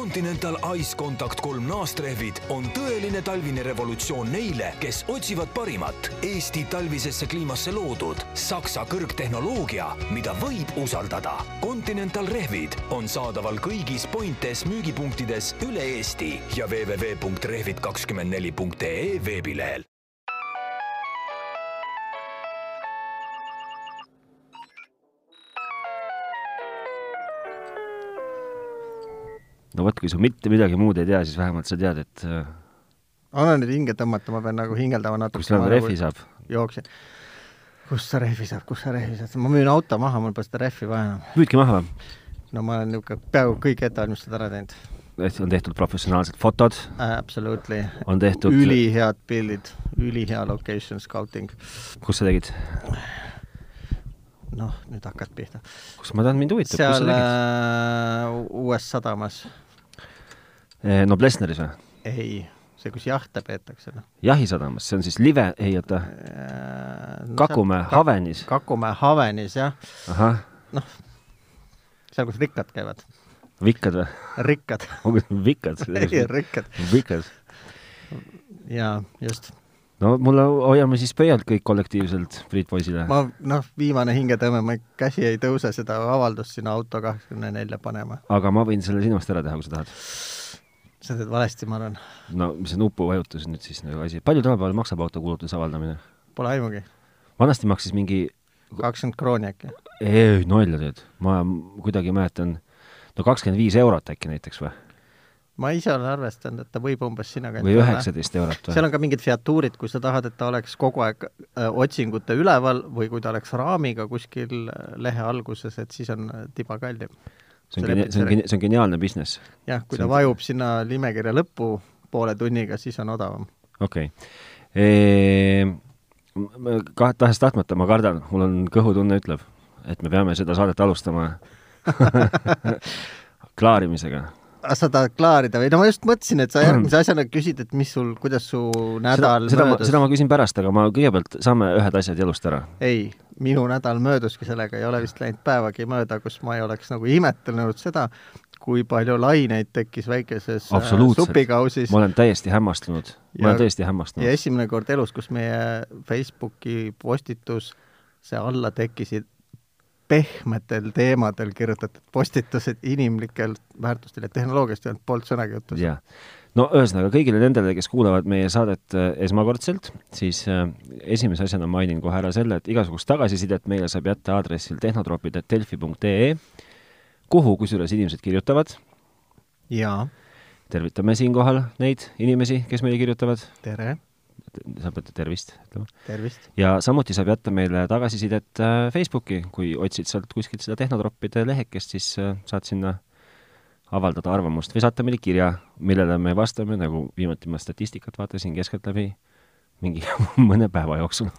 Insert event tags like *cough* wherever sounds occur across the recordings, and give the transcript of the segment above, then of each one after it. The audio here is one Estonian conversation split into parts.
Continental Ice Contact kolm naastrehvid on tõeline talvine revolutsioon neile, kes otsivad parimat Eesti talvisesse kliimasse loodud Saksa kõrgtehnoloogia, mida võib usaldada. Continental rehvid on saadaval kõigis Pointes müügipunktides üle Eesti ja www.rehvid24.ee e veebilehel. no vot , kui sa mitte midagi muud ei tea , siis vähemalt sa tead , et äh, anna nüüd hinge tõmmata , ma pean nagu hingeldama natuke . kus seal rehvi saab . jooksin . kus sa rehvi saad , kus sa rehvi saad , ma müün auto maha , mul pole seda rehvi vaja enam . müüdki maha või ? no ma olen niisugune peaaegu kõik ettevalmistused ära teinud . on tehtud professionaalsed fotod , Absolutely . on tehtud , ülihead pildid , ülihea location scouting . kus sa tegid ? noh , nüüd hakkad pihta . kus ma tean , mind huvitab , kus sa seal tegid ? äh, uues sadamas , Eh, no Blessneris või ? ei , see , kus jahte peetakse , noh . jahisadamas , see on siis live , ei oota , Äh, Kakumäe Havenis , Kakumäe Havenis , jah , ahah , seal , kus rikkad käivad . Vikkad või ? *laughs* rikkad , on küll *laughs* *laughs* Vikkad , rikkad Vikkad . ja just . no mulle , hoiame siis pöialt kõik kollektiivselt Priit Poisile . ma noh , viimane hingetõmme , ma käsi ei tõuse seda avaldust sinna auto kahekümne nelja panema . aga ma võin selle sinust ära teha , kui sa tahad . sa teed valesti , ma arvan . no see nupu vajutus nüüd siis nagu asi , palju tänapäeval maksab autokulutuse avaldamine ? Pole aimugi , vanasti maksis mingi , kakskümmend krooni äkki . ei , nalja teed , ma kuidagi mäletan , no kakskümmend viis eurot äkki näiteks või , ma ise olen arvestanud , et ta võib umbes sinna või . üheksateist eurot seal või ? on ka mingid featuurid , kui sa tahad , et ta oleks kogu aeg äh, otsingute üleval või kui ta oleks raamiga kuskil äh, lehe alguses , et siis on äh, tiba kallim . see on geni- , see on geni- , see on geniaalne business . jah , kui see ta on- vajub sinna nimekirja lõppu poole tunniga , siis on odavam . okei okay. . Ka- , tahes-tahtmata ma kardan , mul on kõhutunne ütleb , et me peame seda saadet alustama *laughs* klaarimisega . sa tahad klaarida või ? no ma just mõtlesin , et sa järgmise asjana küsid , et mis sul , kuidas su Hmm. seda nädal , seda ma , möödus seda . ma küsin pärast , aga ma kõigepealt saame ühed asjad jalust ära . ei , minu nädal mööduski sellega , ei ole vist läinud päevagi mööda , kus ma ei oleks nagu imetlenud seda , kui palju laineid tekkis väikeses äh, Absoluutselt. supikausis ma olen täiesti hämmastunud , ma Ja- olen täiesti ja hämmastunud . esimene kord elus , kus meie Facebooki postitus , see alla tekkisid pehmetel teemadel kirjutatud postitused inimlikel väärtustel ja tehnoloogiast ei olnud poolt sõnagi juttu . jaa . no ühesõnaga kõigile nendele , kes kuulavad meie saadet äh, esmakordselt , siis äh, esimese asjana mainin kohe ära selle , et igasugust tagasisidet meile saab jätta aadressil tehnotropid.delfi.ee , kuhu kusjuures inimesed kirjutavad . jaa , tervitame siinkohal neid inimesi , kes meile kirjutavad , tere , sa pead tervist ütlema . tervist . ja samuti saab jätta meile tagasisidet äh, Facebooki , kui otsid sealt kuskilt seda Tehnotroppide lehekest , siis äh, saad sinna avaldada arvamust või saata meile kirja , millele me vastame , nagu viimati ma statistikat vaatasin keskeltläbi mingi *laughs* mõne päeva jooksul .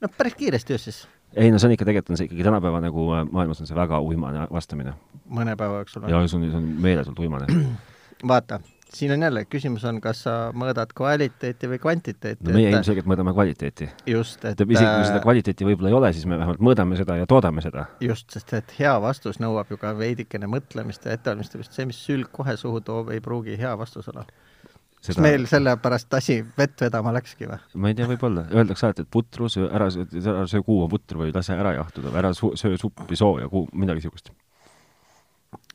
no päris kiiresti just siis , ei no see on ikka , tegelikult on see ikkagi tänapäeva nagu äh, maailmas on see väga uimane vastamine mõne päeva jooksul või ? ja see on , see on meeletult uimane . vaata , siin on jälle , küsimus on , kas sa mõõdad kvaliteeti või kvantiteeti no meie . ilmselgelt mõõdame kvaliteeti . just , et isegi kui seda kvaliteeti võib-olla ei ole , siis me vähemalt mõõdame seda ja toodame seda . äh, just , sest et hea vastus nõuab ju ka veidikene mõtlemist ja ettevalmistamist , see , mis sülg kohe suhu toob , ei pruugi hea vastus olla . kas Seda- meil sellepärast asi vett vedama läkski või ? ma ei tea , võib-olla , öeldakse alati , et putru , söö ära , ära söö kuuma putru või lase ära jahtuda või ära su- söö suppi sooja , kuu- , midagi siukest .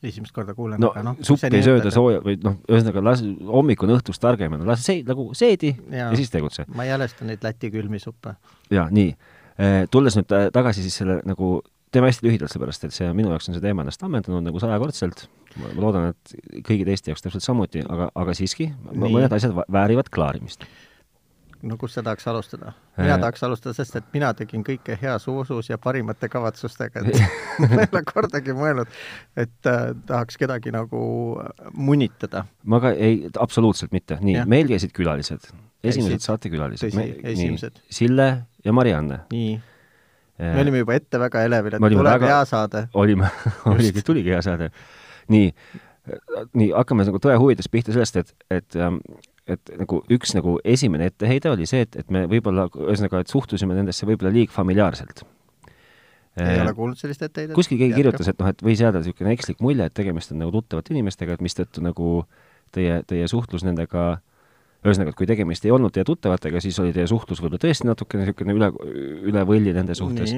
esimest korda kuulen . noh, no, no suppi ei sööda . sooja või noh , ühesõnaga lase , hommik on õhtust targem , lase see, nagu seedi ja. Jaa. ja siis tegutse . ma ei häälesta neid Läti külmisuppe . ja nii , tulles nüüd ta- tagasi siis selle nagu , teeme hästi lühidalt , sellepärast et see minu jaoks on see teema ennast ammendanud nagu sajakordselt . ma ma loodan , et kõigi teiste jaoks täpselt samuti , aga , aga siiski Nii. nii. mõned asjad va- väärivad klaarimist . no kus sa tahaks alustada ? mina Eh. tahaks alustada , sest et mina tegin kõike heas usus ja parimate *laughs* kavatsustega , et ma ei ole kordagi mõelnud , et äh, tahaks kedagi nagu munitada . ma ka ei , absoluutselt mitte , nii Jah. , meil käisid külalised , Käisid. esimesed saatekülalised Tõsi, , esimesed. Sille ja Marianne . nii , me olime juba ette väga elevil , Äh. et Me olime tuleb väga- hea saade . olime , oligi , tuligi hea saade . nii , nii hakkame nagu tõe huvides pihta sellest , et , et , et nagu üks nagu esimene etteheide oli see , et , et me võib-olla , ühesõnaga , et suhtusime nendesse võib-olla liig familiaarselt . ei ole kuulnud sellist etteheidet. Äh. kuskil keegi kirjutas, et noh, et võis jääda niisugune ekslik mulje, et tegemist on nagu tuttavate inimestega, et mistõttu nagu teie, teie suhtlus nendega ühesõnaga, et kui tegemist ei olnud teie tuttavatega, siis oli teie suhtlus võib-olla tõesti natukene niisugune üle, üle võlli nende suhtes.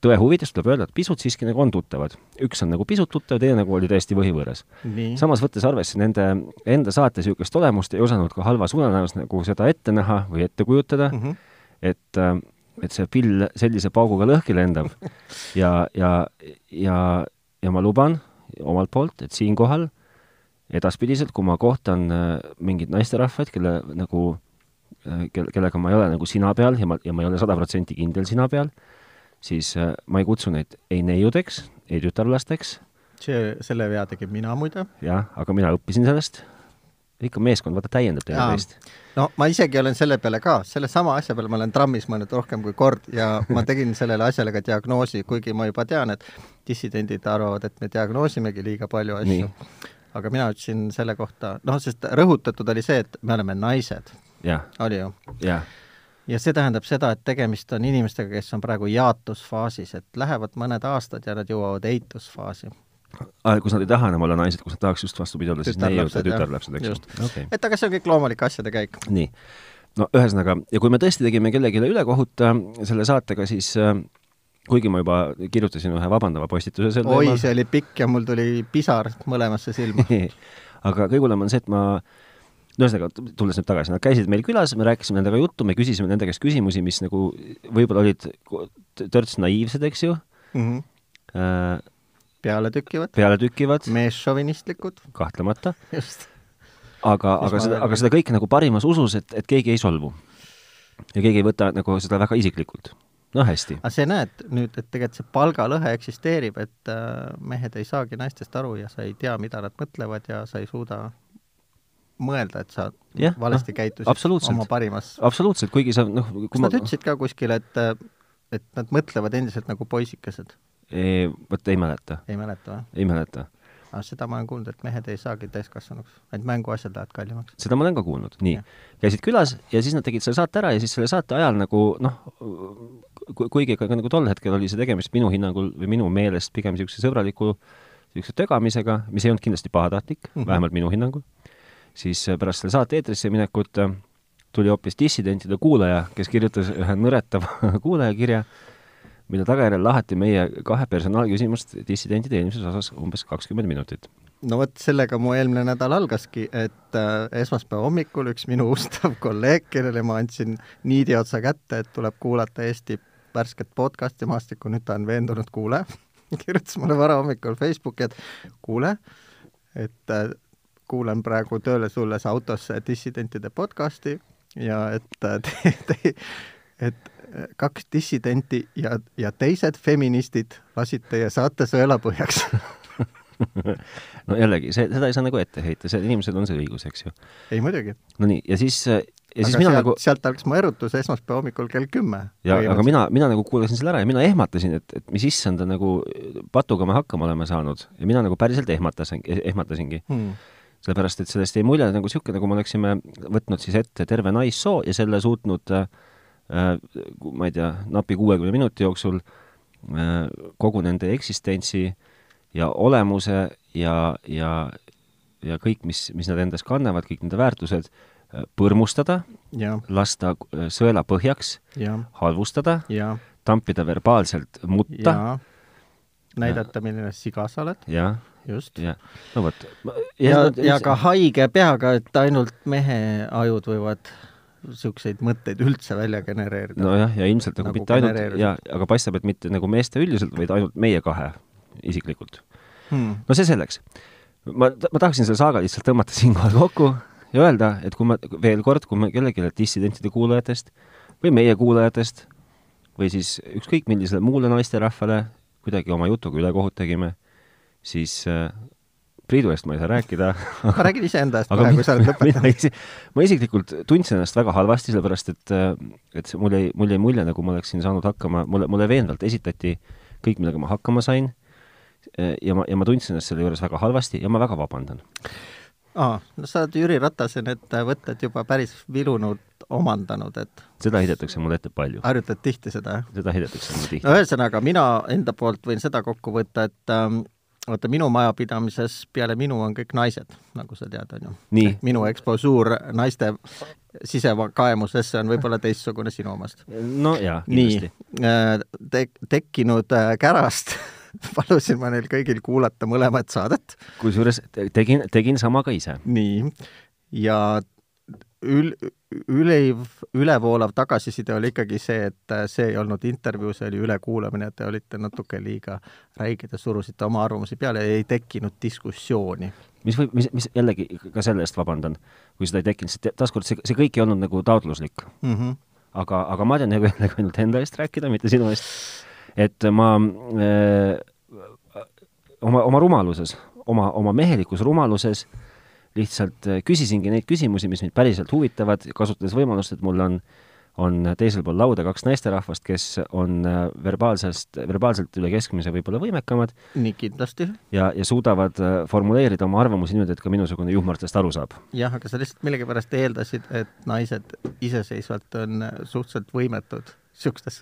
tõe huvides tuleb öelda, et pisut siiski nagu on tuttavad. üks on nagu pisut tuttav, teine nagu oli täiesti võhivõõras. nii , samas võttes arvesse nende enda saate niisugust olemust, ei osanud ka halvas unenäos nagu seda ette näha või ette kujutada mm, Mhm. -hmm. et äh, et see pill sellise pauguga lõhki *laughs* lendab ja , ja , ja , ja ma luban omalt poolt , et siinkohal edaspidiselt , kui ma kohtan äh, mingeid naisterahvaid , kelle nagu , kelle , kellega ma ei ole nagu sina peal ja ma , ja ma ei ole sada protsenti kindel sina peal , siis äh, ma ei kutsu neid ei neiudeks , ei tütarlasteks , see , selle vea tegin mina muide . jah , aga mina õppisin sellest . ikka meeskond , vaata , täiendab teineteist . no ma isegi olen selle peale ka , sellesama asja peale ma olen trammis mõelnud rohkem kui kord ja ma tegin sellele asjale ka diagnoosi , kuigi ma juba tean , et dissidendid arvavad , et me diagnoosimegi liiga palju Nii. asju . aga mina ütlesin selle kohta , noh , sest rõhutatud oli see , et me oleme naised , jah , oli ju jah , ja see tähendab seda , et tegemist on inimestega , kes on praegu jaatusfaasis , et lähevad mõned aastad ja nad jõuavad eitusfaasi . kus nad ei taha enam olla naised , kus nad tahaks just vastupidi olla , siis neiud ja Tütarlapsed, jah. tütarlapsed , eks Just. ju okay. . et aga see on kõik loomulik asjade käik . nii , no ühesõnaga , ja kui me tõesti tegime kellelegi ülekohut äh, selle saatega , siis äh, kuigi ma juba kirjutasin ühe vabandava postituse sel oi , see oli pikk ja mul tuli pisar mõlemasse *laughs* silma . aga kõige hullem on see , et ma no ühesõnaga , tulles nüüd tagasi , nad käisid meil külas , me rääkisime nendega juttu , me küsisime nende käest küsimusi , mis nagu võib-olla olid ko- törts naiivsed , eks ju , Mhm. Äh, pealetükkivad , pealetükivad , meesšovinistlikud , kahtlemata , just . aga , Mis aga ma seda , veel- aga seda kõike nagu parimas usus , et , et keegi ei solvu . ja keegi ei võta nagu seda väga isiklikult . no hästi , aga see näed nüüd , et tegelikult see palgalõhe eksisteerib , et äh, mehed ei saagi naistest aru ja sa ei tea , mida nad mõtlevad ja sa ei suuda mõelda , et sa Jah, valesti noh, käitusid absoluutselt. oma parimas absoluutselt , kuigi sa noh , kas nad ütlesid ka kuskil , et , et nad mõtlevad endiselt nagu poisikesed ? vot ei mäleta , ei mäleta või ? ei mäleta . aga seda ma olen kuulnud , et mehed ei saagi täiskasvanuks , ainult mänguasjad lähevad kallimaks . seda ma olen ka kuulnud , nii Jah. . käisid külas ja siis nad tegid selle saate ära ja siis selle saate ajal nagu noh , kuigi ka, ka nagu tol hetkel oli see tegemist minu hinnangul või minu meelest pigem niisuguse sõbraliku niisuguse tögamisega , mis ei olnud kindlasti pahatahtlik mm , -hmm. vähemalt minu hinnangul , siis äh, pärast selle saate eetrisse minekut äh, tuli hoopis dissidentide kuulaja , kes kirjutas ühe nõretava *laughs* kuulajakirja , mille tagajärjel lahati meie kahe personaalküsimust dissidentide eelmises osas umbes kakskümmend minutit . no vot , sellega mu eelmine nädal algaski , et äh, esmaspäeva hommikul üks minu ustav kolleeg , kellele ma andsin niidi otsa kätte , et tuleb kuulata Eesti värsket podcasti maastikku , nüüd ta on veendunud kuulaja , *laughs* kirjutas mulle varahommikul Facebooki , et kuule , et äh, kuulan praegu tööle tulles autosse dissidentide podcasti ja et äh, *laughs* te, te, et äh, kaks dissidenti ja , ja teised feministid lasid teie saate sõelapõhjaks *laughs* no jällegi , see , seda ei saa nagu ette heita , see , inimesel on see õigus , eks ju . *laughs* ei muidugi . no nii , ja siis , ja siis aga mina sealt, nagu , sealt algas mu erutus esmaspäeva hommikul kell kümme . ja aga mina , mina nagu kuulasin selle ära ja mina ehmatasin , et , et mis issanda nagu patuga me hakkama oleme saanud ja mina nagu päriselt ehmatasin , ehmatasingi . hmm. . sellepärast , et sellest jäi mulje nagu niisugune , nagu me oleksime võtnud siis ette terve naissoo ja selle suutnud äh, äh, ma ei tea , napi kuuekümne minuti jooksul äh, kogu nende eksistentsi ja olemuse ja , ja , ja kõik , mis , mis nad endas kannavad , kõik nende väärtused äh, põrmustada , ja , lasta äh, sõela põhjaks , ja , halvustada , ja , tampida verbaalselt mutta ja näidata , milline siga sa oled , ja , just . ja no vot . ja , ja ka haige peaga , et ainult mehe ajud võivad niisuguseid mõtteid üldse välja genereerida no. . nojah , ja ilmselt nagu, Nagu nagu mitte ainult genereeritud. ja , aga paistab , et mitte nagu meeste üldiselt , vaid ainult meie kahe isiklikult . Hmm. no see selleks . ma , ma tahaksin selle saaga lihtsalt tõmmata *laughs* siinkohal kokku ja öelda , et kui ma veel kord , kui me kellelegi dissidentide kuulajatest või meie kuulajatest või siis ükskõik millisele muule naisterahvale kuidagi oma jutuga ülekohut tegime , siis äh, Priidu eest ma ei saa rääkida , *laughs* aga ma räägin iseenda eest praegu , sa oled mina lõpetanud . isi- ma isiklikult tundsin ennast väga halvasti , sellepärast et , et see- mul jäi , mul jäi mulje , nagu ma oleksin saanud hakkama , mulle , mulle veenvalt esitati kõik , millega ma hakkama sain . ja ma , ja ma tundsin ennast selle juures väga halvasti ja ma väga vabandan . aa , no sa oled Jüri Ratase need võtted juba päris vilunud omandanud, et seda heidetakse mulle ette palju . harjutad tihti seda, jah? seda heidetakse mulle tihti no . ühesõnaga , mina enda poolt võin seda kokku võtta , et ähm, vaata , minu majapidamises peale minu on kõik naised , nagu sa tead , on ju . Nii. minu eksposuur naiste sisekaemusesse on võib-olla teistsugune sinu omast . no jaa , nii kindlasti ., tek- , tekkinud äh, kärast *laughs* palusin ma neil kõigil kuulata mõlemat saadet , kusjuures te- tegin , tegin sama ka ise . nii , ja ül- , üle , ülevoolav tagasiside oli ikkagi see , et äh, see ei olnud intervjuu , see oli ülekuulamine , te olite natuke liiga räiged ja surusite oma arvamusi peale ja ei tekkinud diskussiooni . mis võib , mis , mis jällegi ka selle eest vabandan , kui seda ei tekkinud , sest taaskord see , see kõik ei olnud nagu taotluslik . Mm -hmm. aga , aga ma tean nagu jällegi ainult enda eest rääkida , mitte sinu eest . et ma äh, oma , oma rumaluses , oma , oma mehelikus rumaluses lihtsalt äh, küsisingi neid küsimusi , mis mind päriselt huvitavad , kasutades võimalust , et mul on , on teisel pool lauda kaks naisterahvast , kes on äh, verbaalsest , verbaalselt üle keskmise võib-olla võimekamad nii kindlasti , ja , ja suudavad äh, formuleerida oma arvamusi niimoodi , et ka minusugune juhmardest aru saab . jah , aga sa lihtsalt millegipärast eeldasid , et naised iseseisvalt on äh, suhteliselt võimetud niisugustes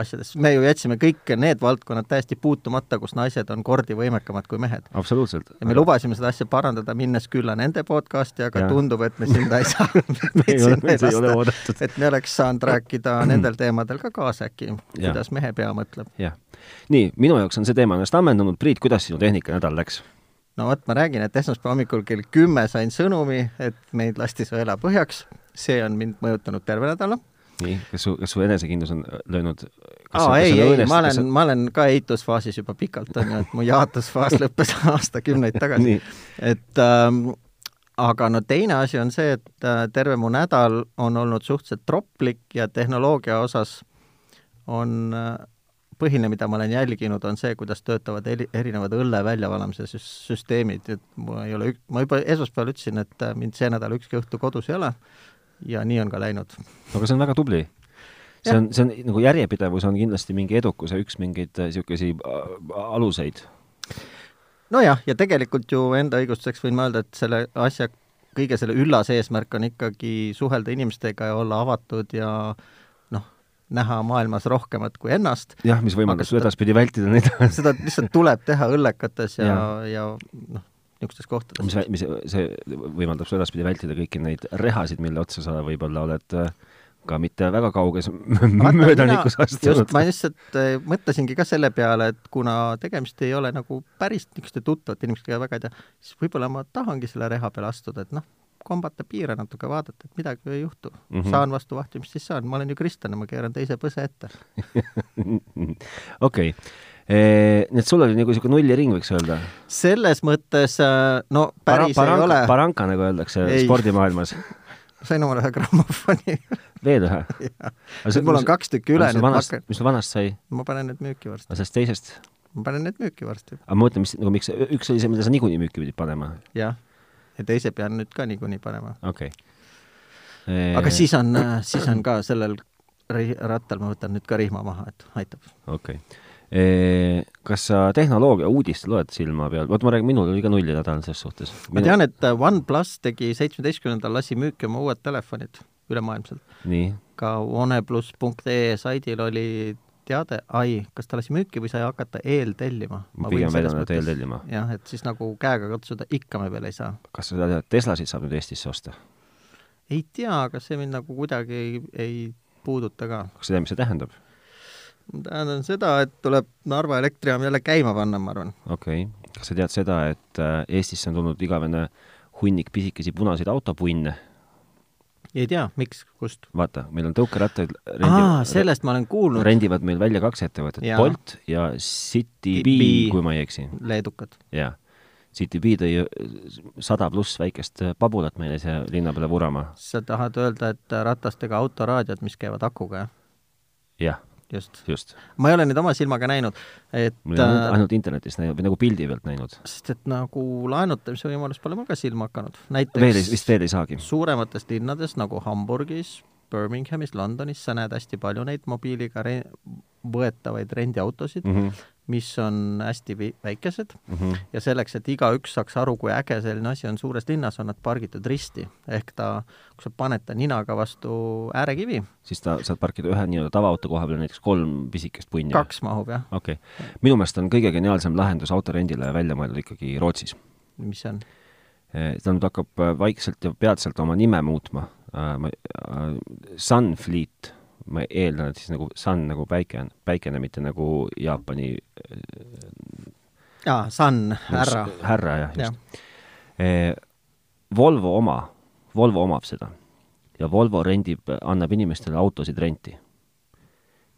asjades . me ju jätsime kõik need valdkonnad täiesti puutumata , kus naised on kordi võimekamad kui mehed . absoluutselt . ja me lubasime seda asja parandada , minnes külla nende podcasti , aga Jaa. ja. tundub , et *laughs* me sinna *laughs* ei saa . ei ole- meid ei ole oodatud. et me oleks saanud rääkida nendel teemadel ka kaasa äkki , Jaa. kuidas mehe pea mõtleb . jah . nii , minu jaoks on see teema ennast ammendanud , Priit , kuidas sinu tehnikanädal läks ? no vot , ma räägin , et esmaspäeva hommikul kell kümme sain sõnumi , et meid lasti sõela põhjaks , see on mind mõjutanud terve nädala . nii , kas su , kas su enesekindlus on äh, löönud ? aa , ei , ei , ma olen , ma olen ka eitusfaasis juba pikalt , on ju , et mu jaatusfaas lõppes *laughs* aastakümneid tagasi Nii. . et ähm, aga no teine asi on see , et äh, terve mu nädal on olnud suhteliselt troplik ja tehnoloogia osas on äh, põhiline , mida ma olen jälginud , on see , kuidas töötavad eri, erinevad õlle väljavalamise süs- süsteemid , et ma ei ole , ma juba esmaspäeval ütlesin , et äh, mind see nädal ükski õhtu kodus ei ole ja nii on ka läinud . aga see on väga tubli . see Jah. on , see on nagu järjepidevus on kindlasti mingi edukuse üks mingeid äh, niisuguseid aluseid . nojah , ja tegelikult ju enda õigustuseks võin ma öelda , et selle asja , kõige selle üllas eesmärk on ikkagi suhelda inimestega ja olla avatud ja noh , näha maailmas rohkemat kui ennast . jah , mis võimaldas sul edaspidi vältida neid *laughs* asju , seda lihtsalt tuleb teha õllekates ja, Jaa. ja , ja noh , niisugustes mis kohtades ., mis see võimaldab sul edaspidi vältida kõiki neid rehasid , mille otsa sa võib-olla oled äh, ka mitte väga kauges *laughs* möödanikus just , astunud . ma lihtsalt eh, mõtlesingi ka selle peale , et kuna tegemist ei ole nagu päris niisuguste tuttavate inimestega ja väga ei tea , siis võib-olla ma tahangi selle reha peale astuda , et noh , kombata piire natuke , vaadata , et midagi ju ei juhtu mm . Mhm. -hmm. saan vastu vahti , mis siis saan , ma olen ju kristlane , ma keeran teise põse ette . *laughs* okei , nii et sul oli nagu niisugune nulliriing , võiks öelda . selles mõttes , no päris Para, ei ole , paranka , nagu öeldakse Ei. spordimaailmas . sain omale ühe grammofoni . veel *laughs* ühe ? Nüüd mul on kaks tükki üle, nüüd ma hakkan- mis sul vanast sai ? ma panen need müüki varsti , aga sellest teisest ? ma panen need müüki varsti , aga ma mõtlen , mis nagu miks , üks oli see , mida sa niikuinii müüki pidid panema , jah . ja teise pean nüüd ka niikuinii panema . okei okay. aga . siis on , siis on ka sellel ri- rattal ma võtan nüüd ka rihma maha , et aitab . okei okay. . kas sa tehnoloogia uudist loed silma peal ? vot ma räägin , minul oli ka nulli nädal selles suhtes . ma tean , et äh, OnePlus tegi seitsmeteistkümnendal lasi müüki oma uued telefonid ülemaailmselt . nii , ka oneplus.ee saidil oli teade , ai , kas ta lasi müüki või sai hakata eeltellima ? Ma pigem väidan, et eeltellima. jah , et siis nagu käega katsuda ikka me veel ei saa . kas sa tead , et Teslasid saab nüüd Eestisse osta ? ei tea , aga see mind nagu kuidagi ei, ei puuduta ka . kas sa tead , mis see tähendab ? ma tähendan seda , et tuleb Narva elektrijaam jälle käima panna , ma arvan . okei okay. , kas sa tead seda , et äh, Eestisse on tulnud igavene hunnik pisikesi punaseid autopunne ? ei tea , miks , kust ? vaata , meil on tõukerattaid aa , rendivad , sellest ma olen kuulnud , rendivad meil välja kaks ettevõtet , Jaa. Bolt ja CityBee Bee. , kui ma ei eksi . leedukad . jaa . CityBee tõi äh, sada pluss väikest äh, pabulat meile siia linna peale vurama . sa tahad öelda , et äh, ratastega autoraadiod , mis käivad akuga , jah ? jah , just . just . ma ei ole neid oma silmaga näinud , et äh, ma olen ainult- ainult internetist näinud või nagu pildi pealt näinud . sest et nagu laenutamise võimalus pole mul ka silma hakanud . veel ei , näiteks vist veel ei saagi . suuremates linnades nagu Hamburgis , Birminghamis , Londonis sa näed hästi palju neid mobiiliga re võetavaid rendiautosid mm , Mhm. -hmm. mis on hästi vi- väikesed mm . -hmm. ja selleks, et igaüks saaks aru, kui äge selline asi on suures linnas, on nad pargitud risti. ehk ta, kui sa paned ta ninaga vastu äärekivi, siis ta saad parkida ühe nii-öelda tavaauto koha peal näiteks kolm pisikest punni . kaks mahub jah, okei okay. , minu meelest on kõige geniaalsem lahendus autorendile välja mõeldud ikkagi Rootsis . mis see on ta nüüd hakkab eh, vaikselt ja peatselt oma nime muutma . Sunfleet , ma eeldan , et siis nagu sun nagu päike , päikene , mitte nagu Jaapani aa , Sun , härra . härra jah , jah , just . Volvo oma , Volvo omab seda ja Volvo rendib , annab inimestele autosid renti .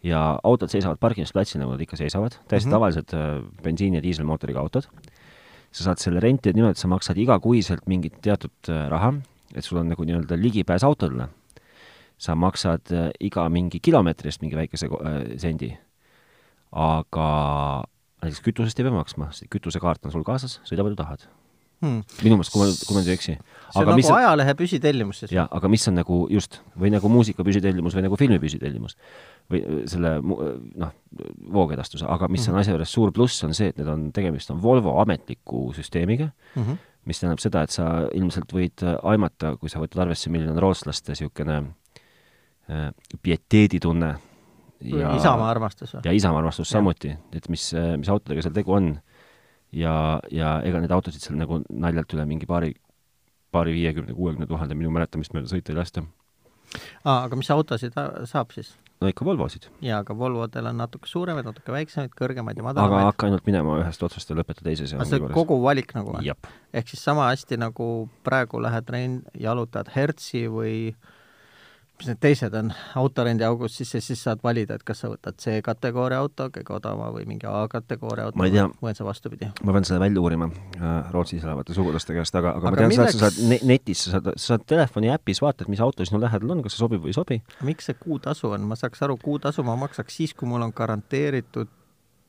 ja autod seisavad parkimisplatsil , nagu nad ikka seisavad , täiesti mm Mhm. -hmm. tavalised eh, bensiini- ja diiselmootoriga autod . sa saad selle renti , et nimelt sa maksad igakuiselt mingit teatud eh, raha , et sul on nagu nii-öelda ligipääs autodele . sa maksad eh, iga mingi kilomeetri eest mingi väikese ko- eh, sendi . aga näiteks kütusest ei pea maksma , kütusekaart on sul kaasas , sõida palju tahad . hmm. minu meelest , kui ma , kui ma nüüd ei eksi . see on nagu ajalehe püsitellimus siis . jaa , aga mis on nagu just , või nagu muusika püsitellimus või nagu filmi püsitellimus või öö, selle mu- öö, noh , voogedastuse , aga mis on asja juures suur pluss , on see , et need on , tegemist on Volvo ametliku süsteemiga mm , -hmm. mis tähendab seda , et sa ilmselt võid äh, aimata , kui sa võtad arvesse , milline on rootslaste niisugune äh, pieteeditunne ja isamaa armastus või ? ja Isamaa armastus samuti , et mis , mis autodega seal tegu on ja , ja ega neid autosid seal nagu naljalt üle mingi paari , paari viiekümne , kuuekümne tuhande minu mäletamist mööda sõita ei lasta . aa , aga mis autosid ta- saab siis ? no ikka Volvosid . jaa , aga Volvodel on natuke suuremaid , natuke väiksemaid , kõrgemaid ja aga madalamaid . hakka ainult minema ühest otsast ja lõpeta teises ja aga see on kogu valik nagu või ? jah , ehk siis sama hästi nagu praegu lähed renn- , jalutad Hertzi või mis need teised on , autorendi august sisse , siis saad valida , et kas sa võtad C-kategooria auto , kõige odava või mingi A-kategooria auto Ma ei tea. või on see vastupidi . ma pean seda välja uurima äh, Rootsis elavate sugulaste käest , aga , aga ma Aga tean seda , et sa milleks- saad ne- netis , sa saad , sa saad telefoni äpis vaatad , mis auto sinu lähedal on , kas see sobib või ei sobi . miks see kuutasu on , ma saaks aru , kuutasu ma maksaks siis , kui mul on garanteeritud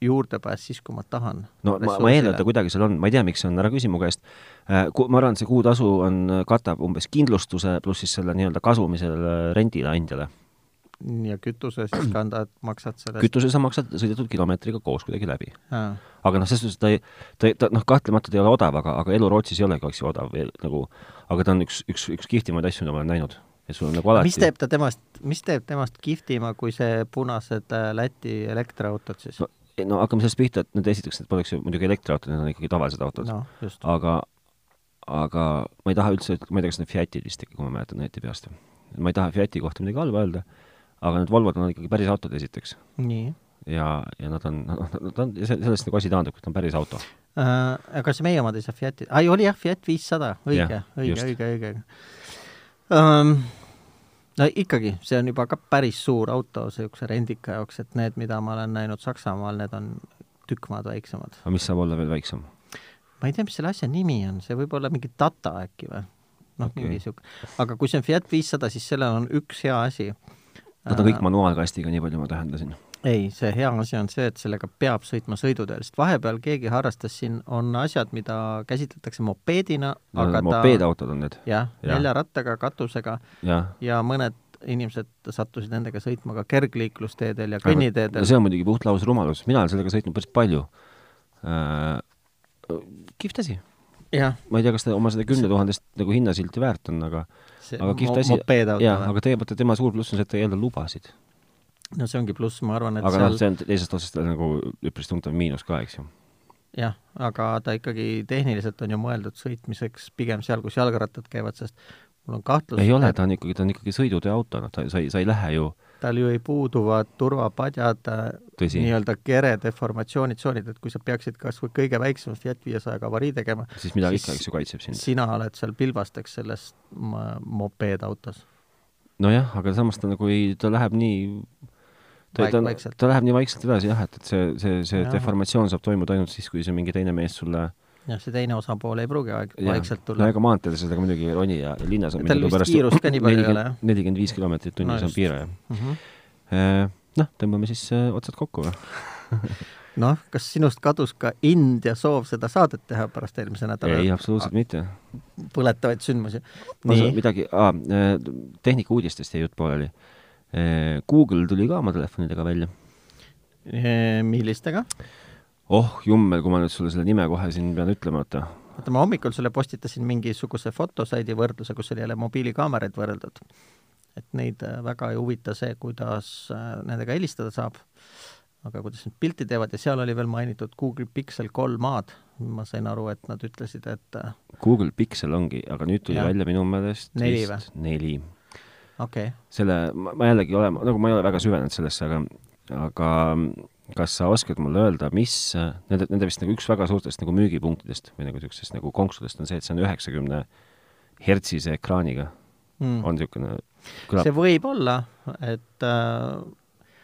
juurdepääs siis , kui ma tahan . no ma , ma eeldan , et ta . kuidagi seal on , ma ei tea , miks see on , ära küsi mu käest . ma arvan , et see kuutasu on , katab umbes kindlustuse pluss siis selle nii-öelda äh, kasumi sellele rendileandjale . ja kütuse siis kandad , maksad selle Küt... . kütuse sa maksad sõidetud kilomeetriga koos kuidagi läbi . Ah, aga noh , selles suhtes ta ei , ta , ta noh , kahtlemata ta ei ole odav , aga , aga elu Rootsis ei ole ka , eks ju , odav veel nagu , aga ta on üks , üks , üks kihvtimaid asju , mida ma olen näinud . et sul on nagu mis alati teeb ta temast , mis teeb temast kihvtima , kui see punased äh, Läti elektriautod siis ? no, no hakkame sellest pihta , et need esiteks , need poleks ju muidugi elektriautod , need on ikkagi tavalised autod noh , just . aga , aga ma ei taha üldse , ma ei tea , kas need Fiatid vist ikka , kui ma mäletan õieti peast . ma ei taha Fiati kohta midagi halba öelda , aga need Volvod on ikkagi päris autod esiteks nii ja , ja nad on , nad on , sellest nagu asi taandubki , et ta on päris auto . äh, . kas meie omad ei saa Fiati , ai oli jah , Fiat viissada , õige Jah, , õige , just. õige , õige um, . no ikkagi , see on juba ka päris suur auto niisuguse rendika jaoks , et need , mida ma olen näinud Saksamaal , need on tükk maad väiksemad . aga mis saab olla veel väiksem ? ma ei tea , mis selle asja nimi on , see võib olla mingi Tata äkki või ? Okei. noh okay. , mingi niisugune , aga kui see on Fiat viissada , siis sellel on üks hea asi . Äh, Nad on kõik manuaalkastiga , nii palju ma tähendasin . ei , see hea asi on see , et sellega peab sõitma sõiduteel , sest vahepeal keegi harrastas siin , on asjad , mida käsitletakse mopeedina , aga ta mopeedautod on need , jah , Jah. nelja rattaga , katusega jah . ja mõned inimesed sattusid nendega sõitma ka kergliiklusteedel ja kõnniteedel . see on muidugi puhtlaus rumalus , mina olen sellega sõitnud päris palju äh, . kihvt asi , jah , ma ei tea , kas ta oma seda kümne tuhandest nagu hinnasilti väärt on , aga see aga mo- kihvt asi , jaa , mopeedauto . aga tegelikult tema suur pluss on see , et ta ei eelda lubasid . no see ongi pluss , ma arvan , et aga aga noh , seal see on teisest otsast jälle nagu üpris tuntav miinus ka , eks ju . jah , aga ta ikkagi tehniliselt on ju mõeldud sõitmiseks pigem seal , kus jalgrattad käivad , sest mul on kahtlus , ei ole , et ta on ikkagi , ta on ikkagi sõiduteeauto , noh , ta , sa ei , sa ei lähe ju , tal ju ei puuduvad turvapadjad äh, Tõsi. nii-öelda kere deformatsioonid , tsoonid , et kui sa peaksid kas või kõige väiksema Fiat viiesajaga avarii tegema , siis midagi ikka , Siis- eks ju , kaitseb sind . sina oled seal pilbasteks selles ma- mopeedautos . nojah , aga samas ta nagu ei , ta läheb nii ta , Vaik- ta, vaikselt. ta läheb nii vaikselt edasi jah , et , et see , see , see Jah. deformatsioon saab toimuda ainult siis , kui see mingi teine mees sulle jah , see teine osapool ei pruugi aeg- , jah. vaikselt no tulla . ega maanteedes sellega muidugi ei roni ja ja linnas on Tal vist kiirust ka nii palju ei ole, jah? nelikümmend viis kilomeetrit tunnis on No just. Mhm. piira , jah . noh , tõmbame siis eh, otsad kokku või ? noh , kas sinust kadus ka India soov seda saadet teha pärast eelmise ei , nädala absoluutselt mitte põletavaid sündmusi ? ma saan nii , midagi ah, , Äh, tehnika uudistest jäi jutt pooleli . Google tuli ka oma telefonidega välja . eh, millistega? oh jummel , kui ma nüüd sulle selle nime kohe siin pean ütlema , oota . vaata , ma hommikul sulle postitasin mingisuguse fotosaidi võrdluse , kus oli jälle mobiilikaameraid võrreldud . et neid äh, väga ei huvita see , kuidas äh, nendega helistada saab , aga kuidas nad pilti teevad ja seal oli veel mainitud Google Pixel 3A-d , ma sain aru , et nad ütlesid , et äh, Google Pixel ongi , aga nüüd tuli Jah. ja. välja minu meelest Neli vist neli . okei okay, , selle , ma jällegi olen , nagu ma ei ole väga süvenenud sellesse , aga , aga kas sa oskad mulle öelda , mis nende , nende vist nagu üks väga suurtest nagu müügipunktidest või nagu niisugustest nagu konksudest on see , et see on üheksakümne hertsise ekraaniga Mm. mm. , on niisugune , kõlab see võib olla , et äh,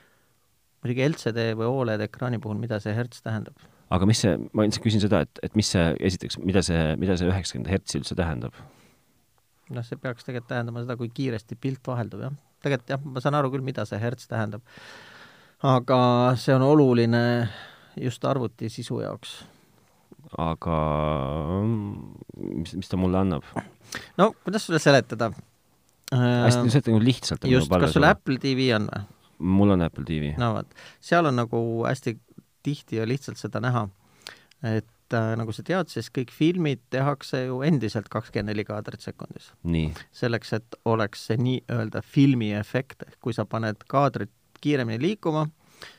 muidugi LCD või Oled ekraani puhul , mida see hertz tähendab ? aga mis see , ma lihtsalt küsin seda , et , et mis see , esiteks , mida see , mida see üheksakümmend hertsi üldse tähendab ? noh , see peaks tegelikult tähendama seda , kui kiiresti pilt vaheldub , jah . tegelikult jah , ma saan aru küll , mida see hertz tähendab . aga see on oluline just arvuti sisu jaoks . aga mm, mis , mis ta mulle annab äh... ? no kuidas sulle seletada ? hästi , see on nagu lihtsalt . just , kas sul ? Apple TV on või ? mul on Apple TV no. . no vot , seal on nagu hästi tihti ja lihtsalt seda näha , et äh, nagu sa tead , siis kõik filmid tehakse ju endiselt kakskümmend neli kaadrit sekundis . nii , selleks , et oleks see nii-öelda filmi efekt , ehk kui sa paned kaadrit kiiremini liikuma ,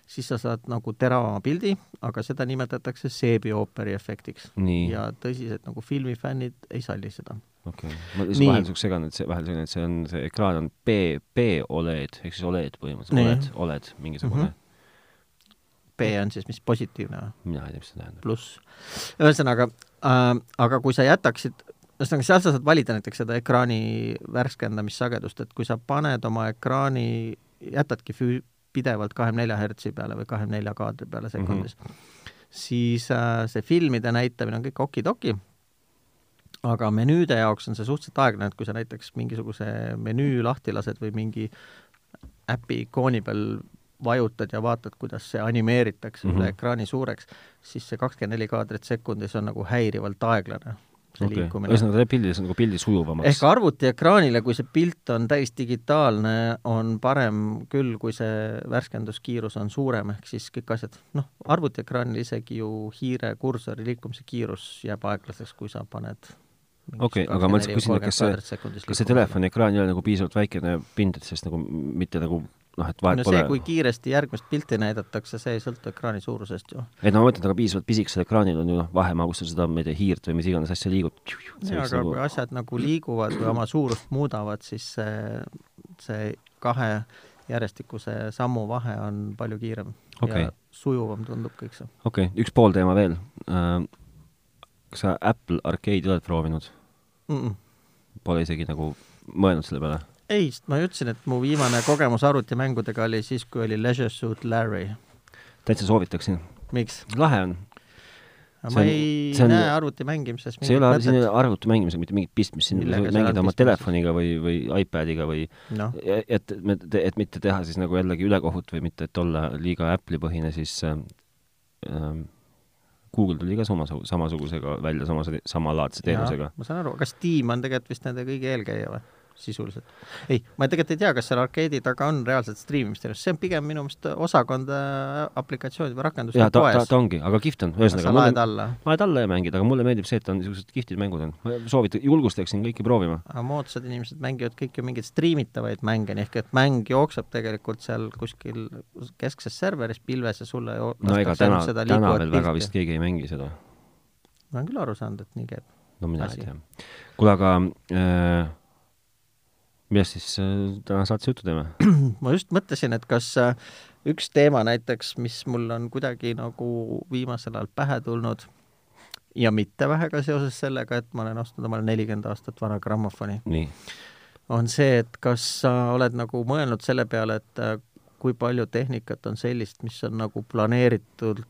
siis sa saad nagu teravama pildi , aga seda nimetatakse seebiooperi efektiks . nii , ja tõsised nagu filmifännid ei salli seda . okei . ma lihtsalt Nii. vahel niisuguseks segan , et see , vahel segan , et see on , see ekraan on P , P Oled ehk siis Oled Nii. põhimõtteliselt , Oled , Oled , mingisugune mm . Mhm. B on siis mis positiivne või? -hmm. mina ei tea , mis see tähendab . pluss . ühesõnaga äh, , aga kui sa jätaksid , ühesõnaga seal sa saad valida näiteks seda ekraani värskendamissagedust , et kui sa paned oma ekraani , jätadki füü- , pidevalt kahekümne nelja hertsi peale või kahekümne nelja kaadri peale sekundis mm , -hmm. siis äh, see filmide näitamine on kõik okidoki , aga menüüde jaoks on see suhteliselt aeglane , et kui sa näiteks mingisuguse menüü lahti lased või mingi äpi ikooni peal vajutad ja vaatad , kuidas see animeeritakse mm -hmm. Mhm. üle ekraani suureks , siis see kakskümmend neli kaadrit sekundis on nagu häirivalt aeglane , see okay. okei , liikumine . ühesõnaga ta teeb pildi , see on nagu pildi sujuvamaks ehk . arvutiekraanile , kui see pilt on täisdigitaalne , on parem küll , kui see värskenduskiirus on suurem , ehk siis kõik asjad , noh , arvutiekraanil isegi ju hiire kursori liikumise kiirus jääb aeglaseks , kui sa paned Okei, aga ma lihtsalt küsin, et kas see- kas see telefoni ekraan ei ole nagu piisavalt väikene pind , et sellest nagu m- mitte nagu noh , et vahet no pole see , kui kiiresti järgmist pilti näidatakse , see ei sõltu ekraani suurusest ju . ei no ma mõtlen , aga piisavalt pisikesel ekraanil on ju noh , vahemaa , kus sa seda , ma ei tea , hiirt või mis iganes asja liigud . aga nagu... kui asjad nagu liiguvad või oma suurust muudavad , siis see , see kahe järjestikuse sammu vahe on palju kiirem Okei. ja sujuvam tundub kõik see . okei okay, , üks pool teema veel . kas sa Apple Arcade'i oled proovinud ? Mm -mm. Pole isegi nagu mõelnud selle peale ? ei , sest ma ju ütlesin , et mu viimane kogemus arvutimängudega oli siis , kui oli Leisure Suit Larry . täitsa soovitaksin . miks ? lahe on . ma See on- ei see on- näe arvuti mängimises see ei ole , siin ei mingit ole arvuti mängimisega mitte mingit pistmist , siin Millega sa võid seal on mängida oma pistmist? telefoniga või , või iPadiga või mõtet , noh . et , et , et mitte teha siis nagu jällegi ülekohut või mitte , et olla liiga Apple'i põhine , siis ähm, ähm, Google tuli ka sama , samasugusega välja , samas , samalaadse teenusega . ma saan aru , aga Steam on tegelikult vist nende kõige eelkäija või ? sisuliselt . ei , ma tegelikult ei tea , kas seal arkeedi taga on reaalselt striimimisteenus , see on pigem minu meelest osakond äh, aplikatsioonide või rakenduste jaa , ta , ta , poes . ta ongi , aga kihvt on , ühesõnaga sa . laed alla . laed alla ja mängid , aga mulle meeldib see , et on niisugused kihvtid mängud on . ma soovitan , julgustaksin kõiki proovima . aga moodsad inimesed mängivad kõik ju mingeid striimitavaid mänge , nii ehk et mäng jookseb tegelikult seal kuskil keskses serveris pilves ja sulle jo- no ega lastakse täna , ainult seda täna liikuvat veel väga pilti. vist keegi ei mängi seda . ma olen küll aru saanud , et nii käib . no mina Asi. ei tea . kuule , aga äh, millest siis äh, täna saates juttu teeme ? ma just mõtlesin , et kas äh, üks teema näiteks , mis mul on kuidagi nagu viimasel ajal pähe tulnud ja mitte vähe ka seoses sellega , et ma olen ostnud omale nelikümmend aastat vana grammofoni , nii . on see , et kas sa oled nagu mõelnud selle peale , et äh, kui palju tehnikat on sellist , mis on nagu planeeritult ,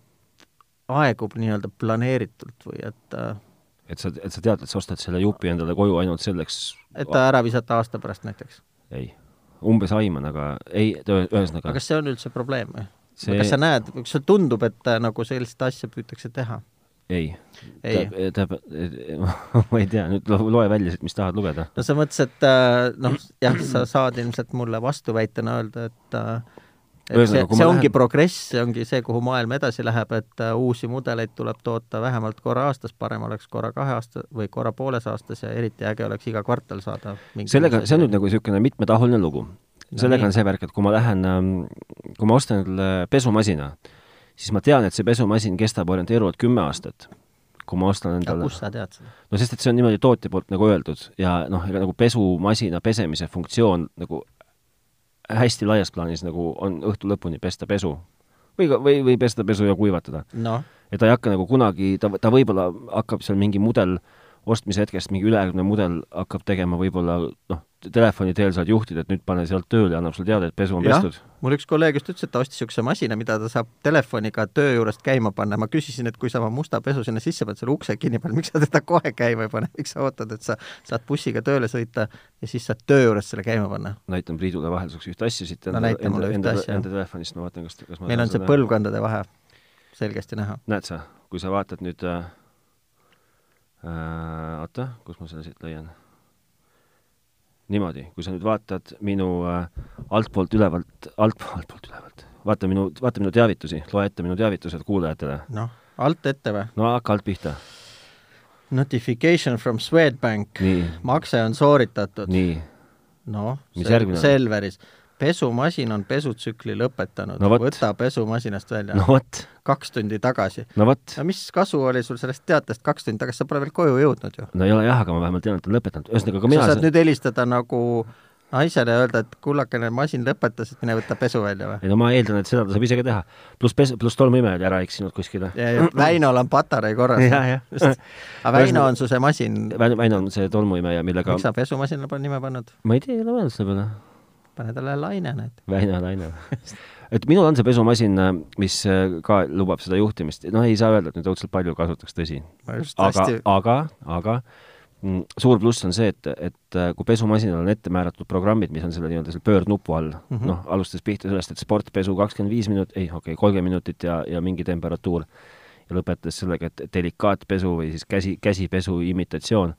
aegub nii-öelda planeeritult või et , äh, et sa , et sa tead , et sa ostad selle jupi endale koju ainult selleks , et ta ära visata aasta pärast näiteks . ei , umbes aiman , aga ei , aga ühesõnaga , kas see on üldse probleem või ? See- kas sa näed , kas sulle tundub , et äh, nagu sellist asja püütakse teha ? ei . Ei. tähendab , *laughs* ma ei tea , nüüd lo- loe välja siit , mis tahad lugeda . no sa mõtlesid , et äh, noh , jah , sa saad ilmselt mulle vastuväitena öelda , et äh, see, Ühesõnaga, kui ma see ongi lähen- lähen... progress , see ongi see , kuhu maailm edasi läheb , et äh, uusi mudeleid tuleb toota vähemalt korra aastas , parem oleks korra kahe aasta või korra pooles aastas ja eriti äge oleks iga kvartal saada sellega , see on nüüd nagu niisugune mitmetahuline lugu . sellega nii. on see värk , et kui ma lähen , kui ma ostan endale pesumasina , siis ma tean , et see pesumasin kestab orienteeruvalt kümme aastat . kui ma ostan endale aga kust sa tead seda ? no sest , et see on niimoodi tootja poolt nagu öeldud ja noh , ega nagu pesumasina pesemise funktsioon nagu hästi laias plaanis nagu on õhtu lõpuni pesta pesu või , või , või pesta pesu ja kuivatada . noh , ja ta ei hakka nagu kunagi , ta , ta võib-olla hakkab seal mingi mudel ostmise hetkest mingi ülejärgmine mudel hakkab tegema võib-olla noh , telefoni teel saad juhtida , et nüüd pane sealt tööle ja annab sulle teada , et pesu on jah pestud ., mul üks kolleeg just ütles , et ta ostis niisuguse masina , mida ta saab telefoniga töö juurest käima panna , ma küsisin , et kui sa oma musta pesu sinna sisse paned , selle ukse kinni paned , *laughs* miks sa teda kohe käima ei pane , miks sa ootad , et sa saad bussiga tööle sõita ja siis saad töö juurest selle käima panna ? näitan Priidule vahelduseks ühte asja siit No näita mulle ühte enda, asja. enda telefonist , ma vaatan , kas , kas ma meil saan on see seda- põlvkondade vahe selgesti näha . näed sa , kui sa vaatad nüüd äh, äh, oota , kus ma selle siit leian ? niimoodi , kui sa nüüd vaatad minu äh, altpoolt ülevalt , alt , altpoolt ülevalt , vaata minu , vaata minu teavitusi , loe ette minu teavitused kuulajatele . noh , alt ette või ? no hakka alt pihta . Notification from Swedbank . nii , makse on sooritatud . nii . noh , Mis järgmine on? Selveris . pesumasin on pesutsükli lõpetanud No vot. Noh. võta pesumasinast välja no . vot , kaks tundi tagasi . no vot . no mis kasu oli sul sellest teatest kaks tundi tagasi , sa pole veel koju jõudnud ju . no ei ole jah , aga ma vähemalt tean , et on lõpetanud . ühesõnaga , ka sa mina saad nüüd helistada nagu naisele ja öelda , et kullakene , masin lõpetas , et mine võta pesu välja või ? ei no ma eeldan , et seda ta saab ise ka teha . pluss pes- , pluss tolmuimejad ära eksinud kuskile . ja , ja Väinol on patarei korras . Jah, jah. *laughs* aga Väino on su see masin , Väino , Väino on see tolmuimeja , millega miks sa pesumasinale pole nime pannud ? ma ei tea , ei ole mõelnud selle peale pane talle laine nüüd . Väino Laine . et minul on see pesumasin , mis äh, ka lubab seda juhtimist , noh , ei saa öelda , et nüüd õudselt palju kasutaks , tõsi . ma just aga hästi ,, aga , aga mm, suur pluss on see , et , et äh, kui pesumasinal on ette määratud programmid , mis on selle nii-öelda selle pöördnupu all mm , Mhm. -hmm. noh , alustades pihta sellest , et sportpesu kakskümmend viis minut , ei , okei okay, , kolmkümmend minutit ja , ja mingi temperatuur ja lõpetades sellega , et delikaatpesu või siis käsi , käsipesu imitatsioon ,